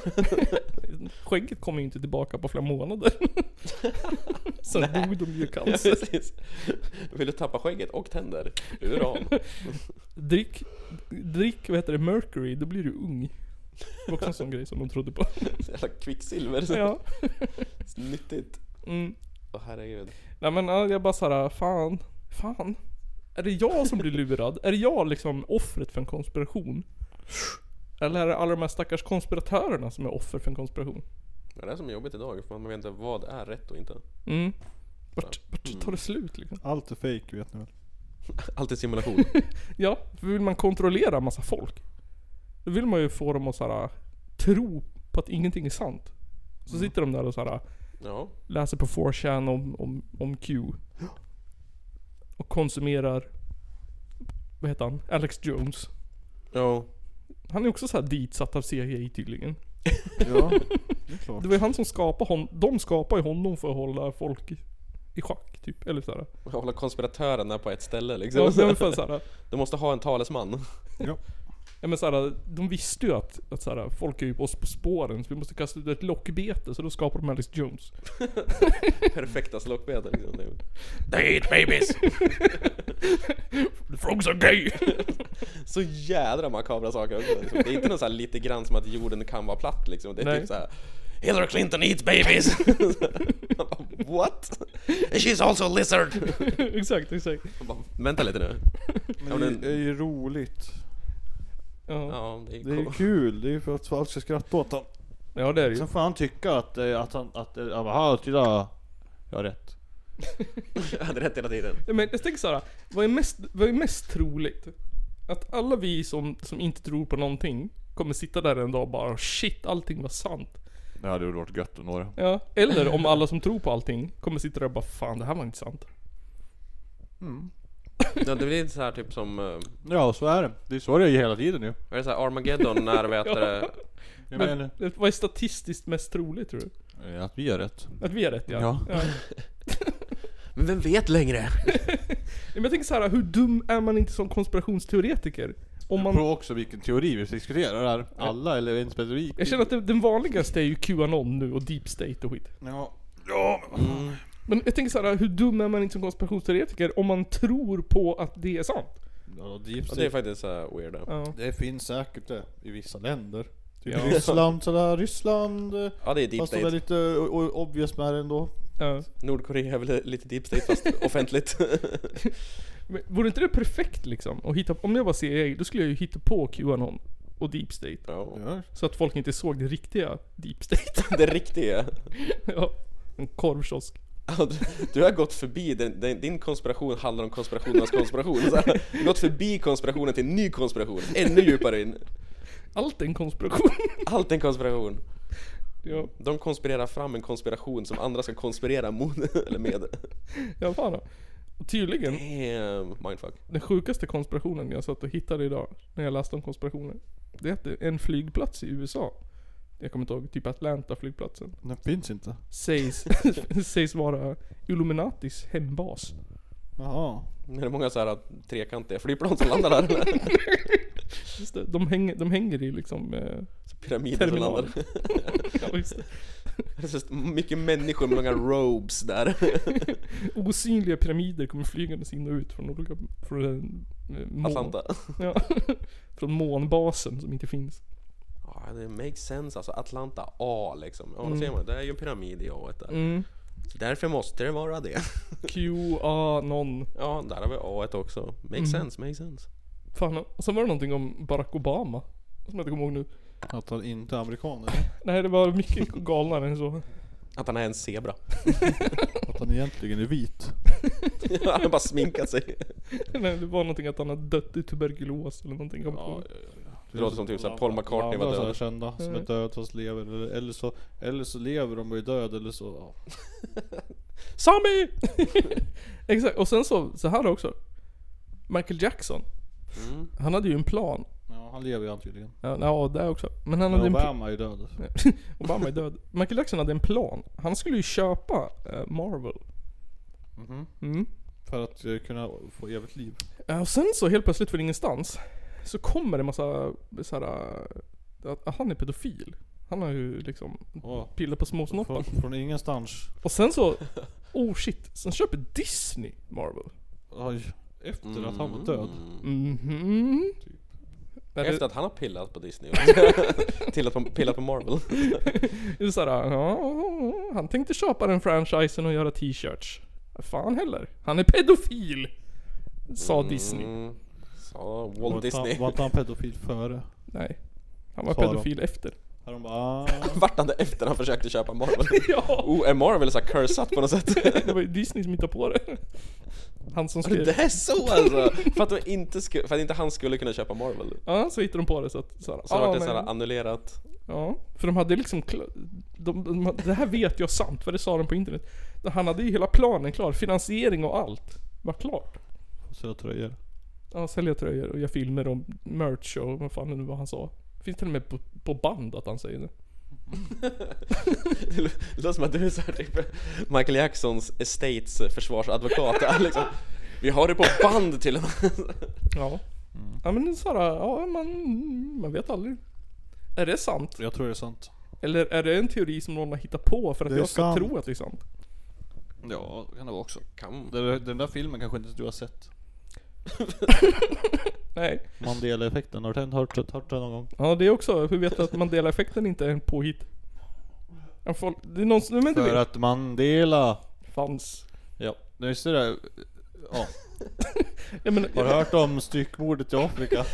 Skägget kom ju inte tillbaka på flera månader. Sen dog de ju i cancer.
Precis. Vill du tappa skägget och tänder? Uran
Drick, drick, vad heter det, mercury, då blir du ung. Det var också en sån grej som de trodde på.
Jävla kvicksilver
ja.
Nyttigt
Mm.
Åh herregud
Nej men ja, jag bara såhär, fan, fan. Är det jag som blir lurad? är det jag liksom offret för en konspiration? Eller är det alla de här stackars konspiratörerna som är offer för en konspiration?
Det är det som är jobbigt idag, för man vet inte vad är rätt och inte
Mm. Vart, vart tar det slut liksom?
Allt är fake vet ni väl?
Allt är simulation.
Ja, för vill man kontrollera massa folk. Då vill man ju få dem att så här, tro på att ingenting är sant. Så sitter de där och så här,
Ja.
läser på 4chan om, om, om Q. Och konsumerar... Vad heter han? Alex Jones.
Ja.
Han är också så här ditsatt av CIA tydligen.
Ja, det är klart.
Det var ju han som skapade honom. De skapade ju honom för att hålla folk i- i schack typ. Eller såhär.
Hålla konspiratörerna på ett ställe
Ja,
liksom.
men för såhär.
De måste ha en talesman.
Ja men såhär, de visste ju att, att såhär, folk är ju på oss på spåren så vi måste kasta ut ett lockbete så då skapar de liksom Alex Jones.
Perfekta slockbeten liksom. Det är-
They eat babies! The frogs are gay!
Så jädra makabra saker också. Liksom. Det är inte något så här lite grann som att jorden kan vara platt liksom. Det är
Nej.
typ så här. Hillary Clinton eats babies! Man bara, What? She's also a lizard!
exakt, exakt.
Man bara, Vänta lite nu. Ja,
Men
men-
det är ju roligt.
Ja.
Ja, det är,
Det är ju
cool.
kul, det är ju för att folk ska skratta åt honom.
ja det är det ju.
Sen får han tycka att, eh, att han, att, eh, aha, titta. Jag har rätt.
Jag hade rätt hela tiden.
Ja, Men jag tänker såhär, vad är mest, vad är mest troligt? Att alla vi som, som inte tror på någonting kommer sitta där en dag och bara shit, allting var sant.
Det hade varit gött att nå det.
Ja. Eller om alla som tror på allting kommer sitta där och bara fan det här var inte sant.
Ja, det blir inte så här typ som... eh,
Ja, så är det. Det är så det är hela tiden ju.
Vad är det så här Armageddon när vi äter... det?
Jag
Men, vad är statistiskt mest troligt tror du?
Att vi har rätt.
Att vi är rätt ja.
Ja.
ja.
Men vem vet längre?
Men jag tänker så här, hur dum är man inte som konspirationsteoretiker? Om
Man...
man...
På också vilken teori vi diskuterar här. Alla eller en specifik.
Jag känner att det- den vanligaste är ju QAnon nu och Deep State och skit.
Ja. Mm.
Men jag tänker så här, hur dum är man inte som konspirationsteoretiker om man tror på att det är sant?
ja deep
Ja,
state.
det är faktiskt så här weird. ja.
Ja.
Det finns säkert det i vissa länder. Typ
Ja.
Ryssland sådär, Ryssland. eh,
Ja, det är deep
Fast de är
state.
lite o- o- obvious med det ändå.
Ja.
Nordkorea är väl lite deep state fast offentligt.
Men vore inte det perfekt liksom? Att hitta, om jag var CIA, då skulle jag ju hitta på Qanon och Deep State.
Ja.
Ja.
Så att folk inte såg det riktiga Deep State.
Det riktiga.
ja. En korvkiosk.
Ja, du- Du har gått förbi, den, den, din konspiration handlar om konspirationernas konspiration. Så här, du har gått förbi konspirationen till en ny konspiration, ännu djupare in.
Allt är en konspiration.
Allt är en konspiration.
ja,
De konspirerar fram en konspiration som andra ska konspirera mot, eller med.
ja fan. då. Och tydligen,
Damn, mindfuck.
den sjukaste konspirationen jag satt och hittade idag, när jag läste om konspirationer. Det är att det- en flygplats i USA. Jag kommer inte ihåg, typ Atlanta flygplatsen.
Den finns inte.
Sägs, sägs vara Illuminatis hembas.
Jaha.
Men det är många så här trekantiga flygplan som landar där. eller?
Just det, de hänger, de hänger i liksom... Eh,
Pyramider som
terminal.
landar.
ja, just det.
Det är så mycket människor med långa robes där.
Osynliga pyramider kommer flygandes in och ut från olika... Från, eh, mån-
Atlanta.
Ja, från månbasen som inte finns.
Ja, det makes sense alltså. Atlanta A liksom. Ja, då
Mm.
ser man. Det är ju en pyramid i A där.
Mm.
Därför måste det vara det.
Q, A, non.
Ja, där har vi A1 också.
Mm.
Makes sense, makes sense.
Fan, och sen var det någonting om Barack Obama. Som jag inte kommer ihåg nu.
Att han inte är amerikan eller?
Nej, det var mycket galnare än så.
Att han är en zebra.
Att han egentligen är vit.
han har bara sminkat sig.
Nej, det var någonting att han hade dött i tuberkulos eller någonting. Ja,
Ja, det låter som typ såhär Paul McCartney
Andra
var
såhär
död.
kända som är
Mm.
död fast lever. Eller, eller, så, eller så lever de och är död eller så. Ja.
Sami! Exakt, och sen så, så här också. Michael Jackson.
Mm.
Han hade ju en plan.
Ja, han lever ju han tydligen.
Ja, ja det också. Men han
Men
hade en pl-
Obama är ju död.
Obama är död. Michael Jackson hade en plan. Han skulle ju köpa eh, Marvel. Mm.
Mhm. För att eh, kunna få evigt liv.
Eh, Och sen så helt plötsligt från ingenstans så kommer det massa så här, eh, att, att han är pedofil. Han har ju liksom
Ja.
pillat på småsnoppar.
Från, från ingenstans.
Och sen så, oh shit, sen köper Disney Marvel.
Oj. Efter att han
Mm.
var död.
Mhm. Nej,
Typ. Efter
det,
att han har pillat på Disney och till att han pillat på Marvel.
det är så här, ja, han tänkte köpa den franchisen och göra t-shirts. Fan heller. Han är pedofil! Sa Disney.
Mm. Så,
Var
Walt
inte han-
Disney.
Var inte han pedofil före?
Nej. Han var
Sa de.
pedofil efter.
Han bara, ah.
Vart han det efter han försökte köpa Marvel?
ja!
Oh, är Marvel så här cursat på något sätt?
Det var ju Disney som hittade på det. Han som skrev.
Det är så alltså! För att, de inte sku- för att inte han skulle kunna köpa Marvel.
Ja, så hittade de på det så att så här, "Ah,
Så det vart det
men-
såhär annullerat.
Ja, för de hade liksom... kla- De, de, det här vet jag sant, för det sa de på internet. Han hade ju hela planen klar, finansiering och allt var klart.
Sina tröjor.
Ja, sälja tröjor och göra filmer och merch och vad fan det nu var han sa. Finns till och med på, på band att han säger det.
Det lå- det låter som att du är såhär typ Michael Jacksons estates försvarsadvokat. Liksom. Vi har det på band till och med.
Ja.
Mm.
Ja men det är såhär, ja man, man vet aldrig. Är det sant?
Jag tror det är sant.
Eller är det en teori som någon har hittat på för att
Det är
jag ska
sant.
tro att det är sant?
Ja, det kan det vara också.
Kan.
Den, den där filmen kanske inte du har sett?
Nej.
Mandela-effekten, har du tänkt- hört, hört den någon gång?
Ja det är också, hur vet du att Mandela-effekten inte är en påhitt? Ja, folk, det är någon som, men du
För
vet.
att Mandela...
Fanns.
Ja, det är just det där. Ja.
Ja, men,
Har du hört om styckmordet i Afrika?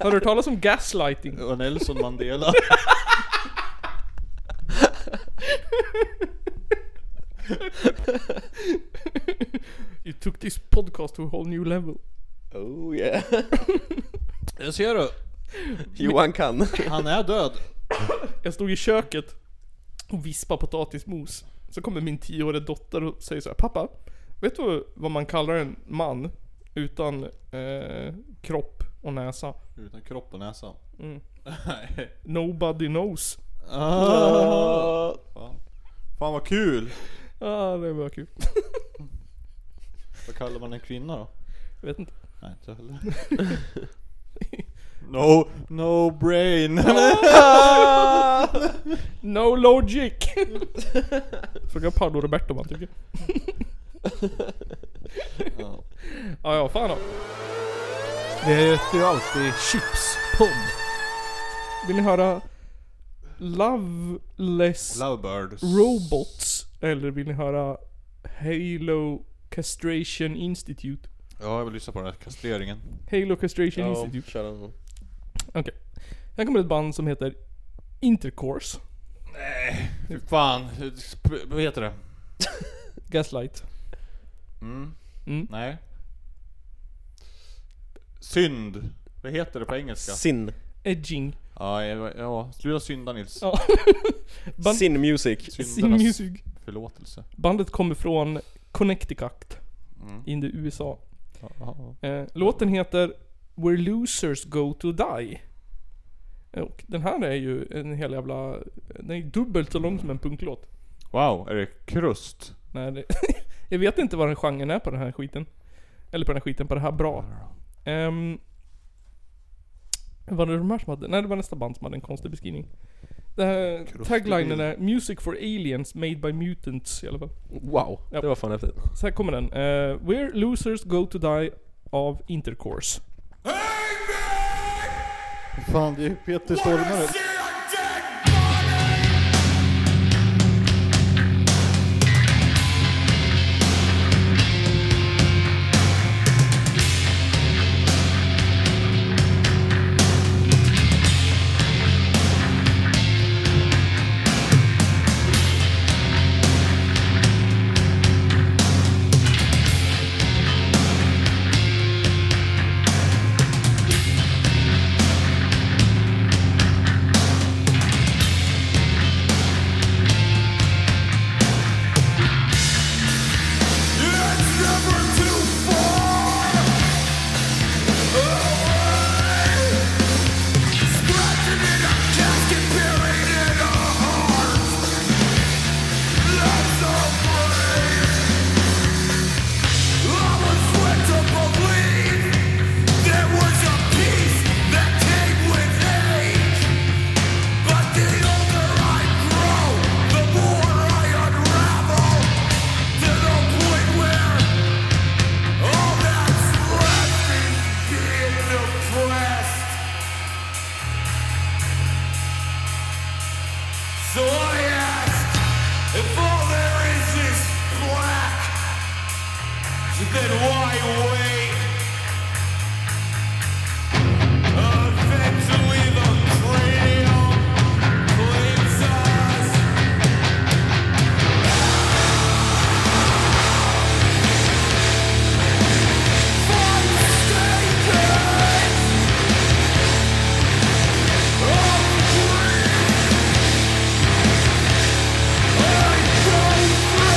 Har du hört talas om gaslighting?
Och Nelson Mandela?
You took this podcast to a whole new level.
Oh yeah.
Jag ser du!
Johan kan.
Han är död.
Jag stod i köket och vispade potatismos. Så kommer min tioåriga dotter och säger så här, Pappa, vet du vad man kallar en man utan eh, kropp och näsa?
Utan kropp och näsa.
Nobody knows.
Ah. Fan. Fan vad kul!
Ah, det var kul.
Vad kallar man en kvinna då?
Jag vet inte.
Nej inte heller. No, no brain!
No logic! Fråga Paolo Roberto vad han tycker.
Ja.
Ah, ja, fan då.
Det heter ju alltid chipspodd.
Vill ni höra Loveless
Lovebirds.
Robots? Eller vill ni höra Halo Castration Institute?
Ja, jag vill lyssna på den här kastreringen.
Halo Castration Institute.
kör den.
Okej. Här kommer ett band som heter Intercourse.
Fy fan, sp- vad heter det? Mm.
Gaslight. Mm.
Nej. Synd. Vad heter det på engelska?
Sin.
Edging.
Ja, ja, ja. sluta synda Nils.
Ja. Band-
Sin music.
Sin
Syndernas
Music.
förlåtelse. Mm.
Bandet kommer från Connecticut. In the USA. Eh, låten heter Where Losers Go To Die. Och den här är ju en hel jävla... Den är dubbelt så lång som en punklåt.
Wow, är det krust?
Nej, det, jag vet inte vad den genren är på den här skiten. Eller på den här skiten, på det här bra. Um, var det de här som hade? Nej, det var nästa band som hade en konstig beskrivning. Det här taglinen är 'Music for aliens made by mutants' i alla fall.
Wow.
Ja.
Det var fan häftigt.
Så här kommer den. Eh, 'Where losers go to die' av Intercourse.
Fan, det är ju Peter Stormare.
So I ask, if all there is is black, then why wait? Eventually the cranium Oh,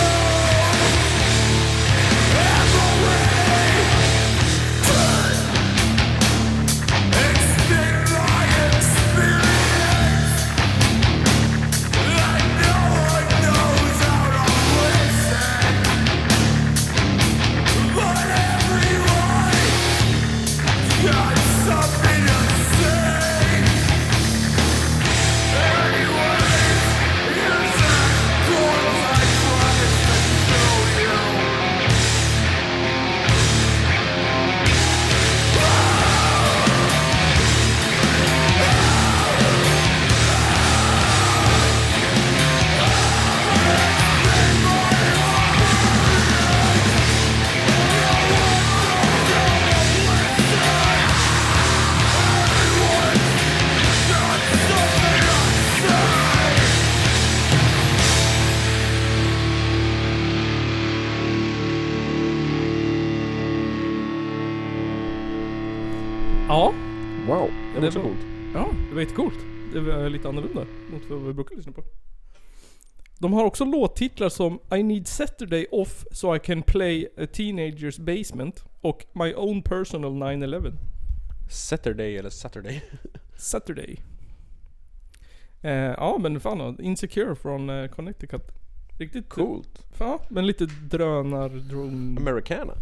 Ja,
Wow, det var
Det
också
var-
coolt.
Ja, det var jättecoolt. Det var lite annorlunda mot vad vi brukar lyssna på. De har också låttitlar som I need Saturday off so I can play a teenager's basement och My own personal 9-11.
Saturday eller Saturday?
Saturday. Eh, ja men fan Insecure från eh, Connecticut. Riktigt
Coolt.
Ja, men lite drönar, drone...
Americana.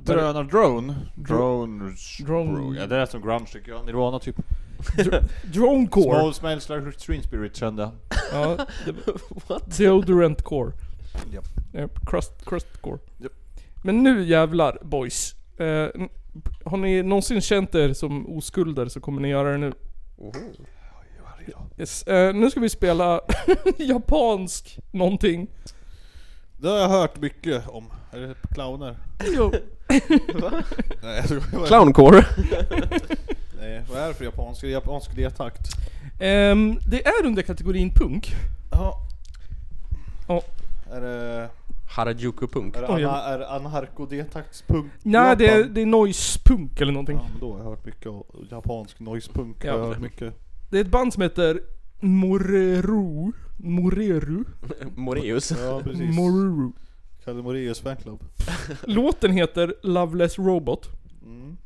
Drönar drone? Drone.
Drone.
Ja, det lät som grunge tycker jag. Nirvana typ.
Dronecore.
Small smells like stream spirit kände jag.
Ja, det, deodorant core.
Japp.
Eh, crust, crust core.
Japp.
Men nu jävlar boys. Eh, n- har ni någonsin känt er som oskulder så kommer ni göra det nu. Yes. Eh, nu ska vi spela japansk någonting.
Det har jag hört mycket om. Är det clowner?
Jo.
Nej, jag tror- vad är-
Clowncore.
Nej, vad är det för japansk? Är det Japansk diatakt?
Ehm, det är under kategorin punk.
Ja.
Ja.
Är det,
Harajuku punk.
är det,
Oj, jag-
ana, är det anarkodiataktspunk?
Nej, det är,
Japan?
det är noise-punk eller någonting.
Ja, men då har jag hört mycket om japansk noisepunk.
Ja,
jag har hört
det-
mycket.
Det är ett band som heter Moreru. Moreru.
Moreus.
Ja, precis.
Moreru.
Kalle Moraeus fanclub.
Låten heter Loveless Robot.
Mm.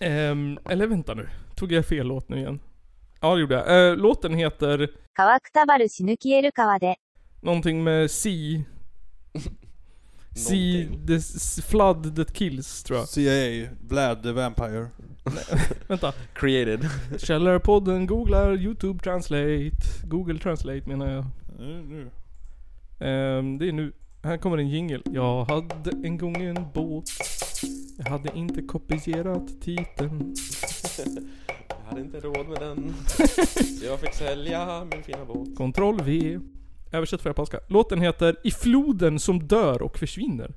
Ehm, eller vänta nu. Tog jag fel låt nu igen? Ja, det gjorde jag. Eh, låten heter
乾くたばる死ぬ消える川で
någonting med Sea... sea
Någonting.
the s- flood that kills, tror jag.
CIA, Vlad the Vampire.
Vänta.
Created.
Källarpodden googlar YouTube translate. Google translate menar jag.
Nu, nu.
Ehm, det är nu. Här kommer en jingle. Jag hade en gång en båt. Jag hade inte kopierat titeln.
Jag hade inte råd med den. Så jag fick sälja min fina båt.
Ctrl V. Översätt från japanska. Låten heter I floden som dör och försvinner.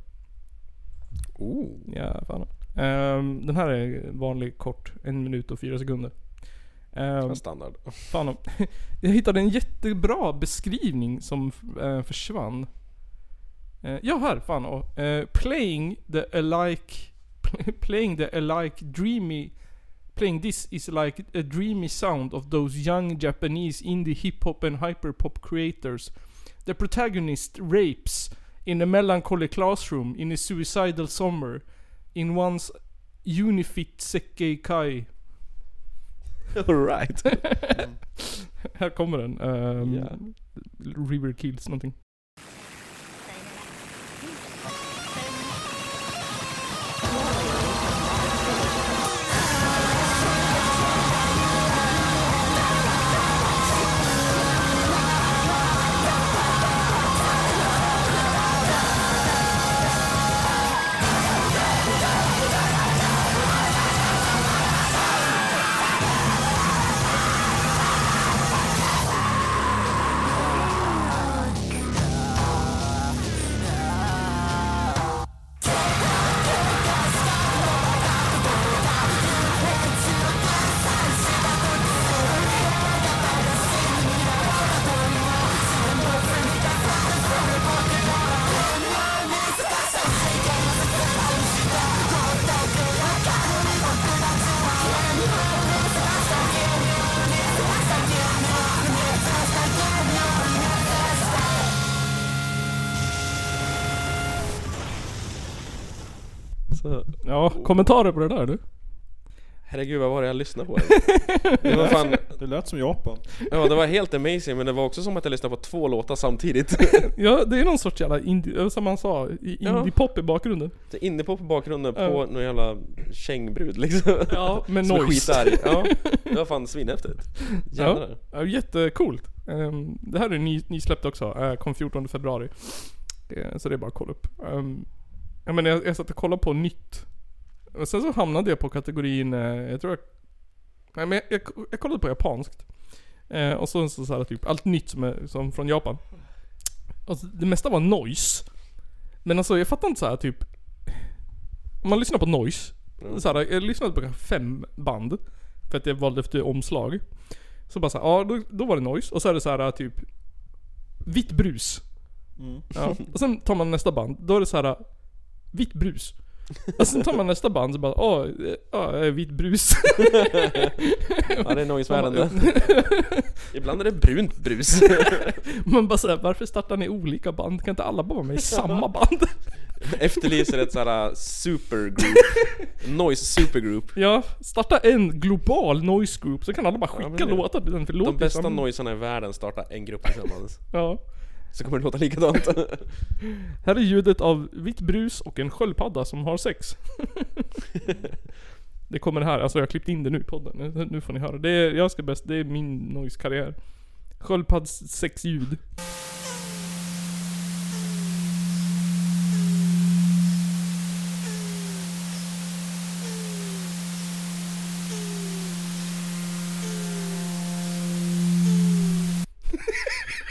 Oh.
Ja, fan. Ehm, den här är vanlig kort. En minut och fyra sekunder. Ehm,
Standard.
fan om. Jag hittade en jättebra beskrivning som eh, försvann. Eh, ja, här. Fan. och, eh, playing the alike... Playing the alike dreamy... Playing this is like a dreamy sound of those young Japanese indie hip-hop and hyperpop creators. The protagonist rapes in a melancholy classroom in a suicidal summer in one's unifit sekkeikai
Alright.
Här kommer den. Um,
Ja.
River Kills någonting. Så, ja, kommentarer på det där du?
Herregud vad var det jag lyssnade på? Det var fan...
Det lät som Japan.
Ja det var helt amazing men det var också som att jag lyssnade på två låtar samtidigt.
Ja, det är någon sorts jävla indie, eh, som han sa, i-
Ja.
indie-pop i bakgrunden.
Det är Inne på på bakgrunden på
Ja.
någon jävla kängbrud liksom.
Ja, med
Som är
noise.
skitarg. Ja, det var fan svinhäftigt. Jävlar.
Ja, jättecoolt. Ehm, det här är ny, nysläppt också, eh, kom 14 februari. Det, så det är bara att kolla upp. Ehm, ja, men jag, jag satt och kollade på nytt. Och sen så hamnade jag på kategorin, eh, jag tror jag... Nej men jag, jag, jag kollade på japanskt. Eh, och så, så, så här, typ allt nytt som, är, som från Japan. Alltså, det mesta var noise. Men alltså jag fattar inte så här typ... Om man lyssnar på noise. Så här, jag lyssnade på kanske fem band. För att jag valde efter omslag. Så bara så här, ja då, då var det noise. Och så är det så här typ... Vitt
Mm.
brus. Ja. Och sen tar man nästa band, då är det så här Vitt brus. Och sen tar man nästa band så bara åh, eh, ja, jag är vit brus.
Ja, det är noise-världen Ibland är det brunt brus.
Man bara såhär, varför startar ni olika band? Kan inte alla bara vara med i samma band?
Efterlyser ett såhär äh, supergroup. Noise supergroup.
Ja, starta en global noise group så kan alla bara
Ja, men
skicka
det-
låtar till den för
De
låter
bästa
samma.
noiserna i världen startar en grupp tillsammans.
Ja.
Så kommer det låta likadant.
Här är ljudet av vitt brus och en sköldpadda som har sex. det kommer här, alltså jag har klippt in det nu i podden. Nu- Nu får ni höra. Det är, jag ska bäst, det är min noise-karriär. Sköldpadds sexljud.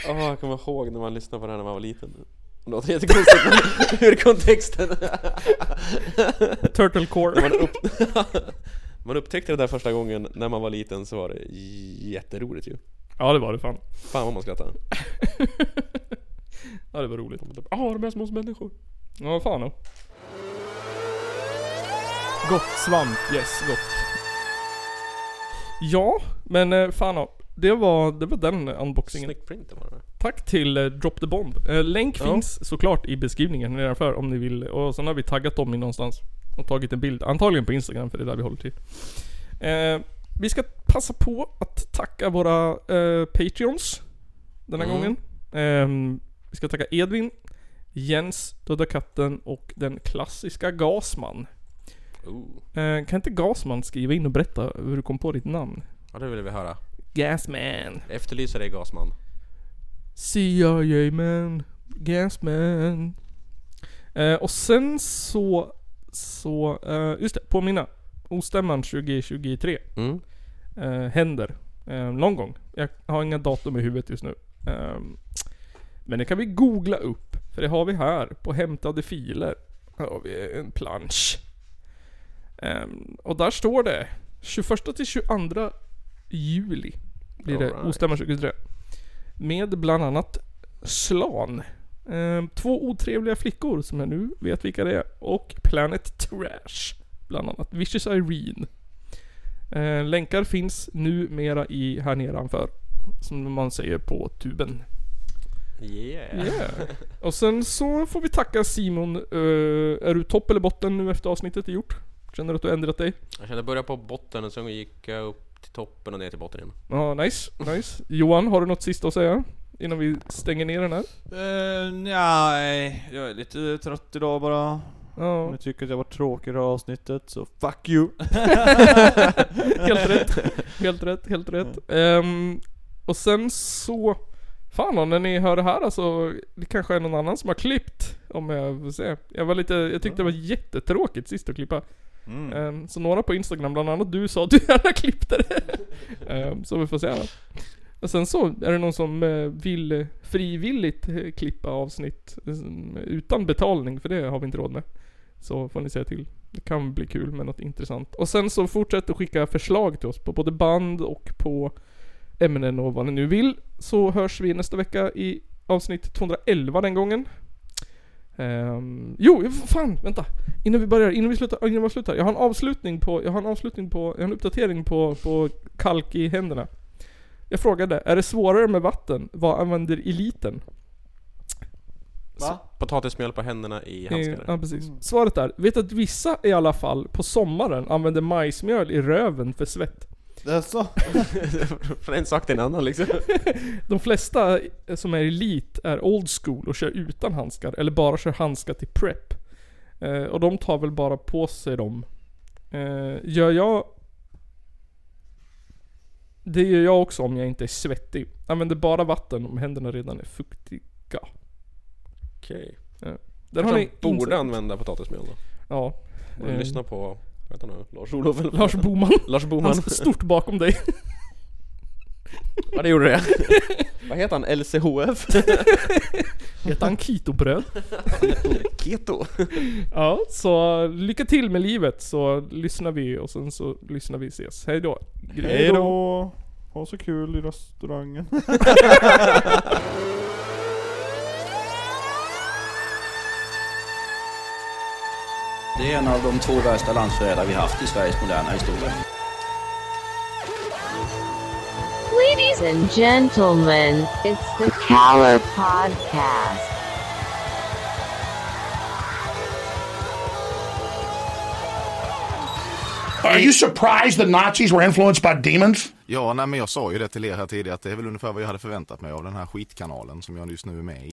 Åh, jag kommer ihåg när man lyssnade på det här när man var liten. Det låter jättekonstigt men ur kontexten.
Turtle core.
Man, upp... man upptäckte det där första gången när man var liten så var det jätteroligt ju.
ja det var det fan.
Fan vad man skrattade.
Ja det var roligt. Ja ah, de är små människor. Ja vad fan då. Gott svamp, yes gott. Ja, men eh, fan då. Det var, det var den unboxingen.
Snygg print var det.
Tack till eh, Drop the Bomb. Eh, länk
Ja.
finns såklart i beskrivningen nedanför om ni vill. Och sen har vi taggat dem i någonstans. Och tagit en bild. Antagligen på Instagram för det är där vi håller till. Eh, vi ska passa på att tacka våra eh, Patreons. Den här
Mm.
gången. Ehm, vi ska tacka Edvin, Jens, Döda katten och den klassiska Gasman.
Ooh.
Eh, kan inte Gasman skriva in och berätta hur du kom på ditt namn?
Ja det ville vi höra.
Gasman.
Efterlyser dig Gasman.
CIA man, gasman. Eh, och sen så, så, eh, just det, påminna. Ostämman 2023
Mm.
eh, händer. Eh, någon gång. Jag har inga datum i huvudet just nu. Eh, men det kan vi googla upp. För det har vi här på hämtade filer. Här har vi en plansch. Eh, och där står det 21 till 22 juli blir det
Alright.
Ostämman 23. Med bland annat Slan. Eh, två otrevliga flickor som jag nu vet vilka det är. Och Planet Trash. Bland annat Vicious Irene. Eh, länkar finns numera i här nedanför. Som man säger på tuben.
Yeah.
Yeah. Och sen så får vi tacka Simon. Eh, är du topp eller botten nu efter avsnittet är gjort? Känner du att du har ändrat dig?
Jag kände börja på botten och sen gick jag upp till toppen och ner till botten igen.
Ja, nice, nice. Johan, har du något sista att säga? Innan vi stänger ner den här?
Uh, nej, jag är lite trött idag bara. Om
Ja,
ni tycker att jag var tråkig i det här avsnittet så fuck you!
helt rätt. Helt rätt, helt rätt. Ehm, och sen så... Fan och när ni hör det här alltså, det kanske är någon annan som har klippt. Om jag får se. Jag var lite, jag tyckte det var jättetråkigt sist att klippa.
Mm.
Ehm, så några på Instagram, bland annat du, sa att du gärna klippte det. Ehm, så vi får se då. Och sen så är det någon som eh, vill eh, frivilligt eh, klippa avsnitt eh, som- utan betalning, för det har vi inte råd med. Så får ni säga till. Det kan bli kul med något intressant. Och sen så fortsätt att skicka förslag till oss på både band och på ämnen och vad ni nu vill. Så hörs vi nästa vecka i avsnitt 211 den gången. Ehm, jo, fan, vänta. Innan vi börjar, innan vi slutar, ah, innan vi slutar. Jag har en avslutning på, jag har en avslutning på, jag har en uppdatering på, på kalk i händerna. Jag frågade, är det svårare med vatten? Vad använder eliten?
Va?
Potatismjöl på händerna i
Eh,
handskar.
Ja, precis. Svaret är, vet att vissa i alla fall på sommaren använder majsmjöl i röven för svett.
Det är så?
Från en sak till en annan liksom.
De flesta som är elit är old school och kör utan handskar, eller bara kör handskar till prep. Eh, och de tar väl bara på sig dem. Eh, gör jag... Det gör jag också om jag inte är svettig. Använder bara vatten om händerna redan är fuktiga.
Okej.
Där har
Kanske
ni...
han borde
insikt.
använda potatismjöl då.
Ja.
Borde
Eh.
lyssna på, vad heter han nu, Lars-Olof eller-
Lars Boman.
Lars Boman.
Han står stort bakom dig.
ja det gjorde det. vad heter han? LCHF?
Heter han Kitobröd?
Keto?
Ja, så lycka till med livet så lyssnar vi och sen så lyssnar vi ses. Hej då.
Hejdå! Ha så kul i restaurangen.
Det Det är en av de två värsta landsförrädare vi haft i Sveriges moderna historia.
Ladies and gentlemen, it's the Caller Podcast.
Are you surprised the Nazis were influenced by demons?
Ja, nej, men jag sa ju det till er här tidigare att det är väl ungefär vad jag hade förväntat mig av den här skitkanalen som jag just nu är med i.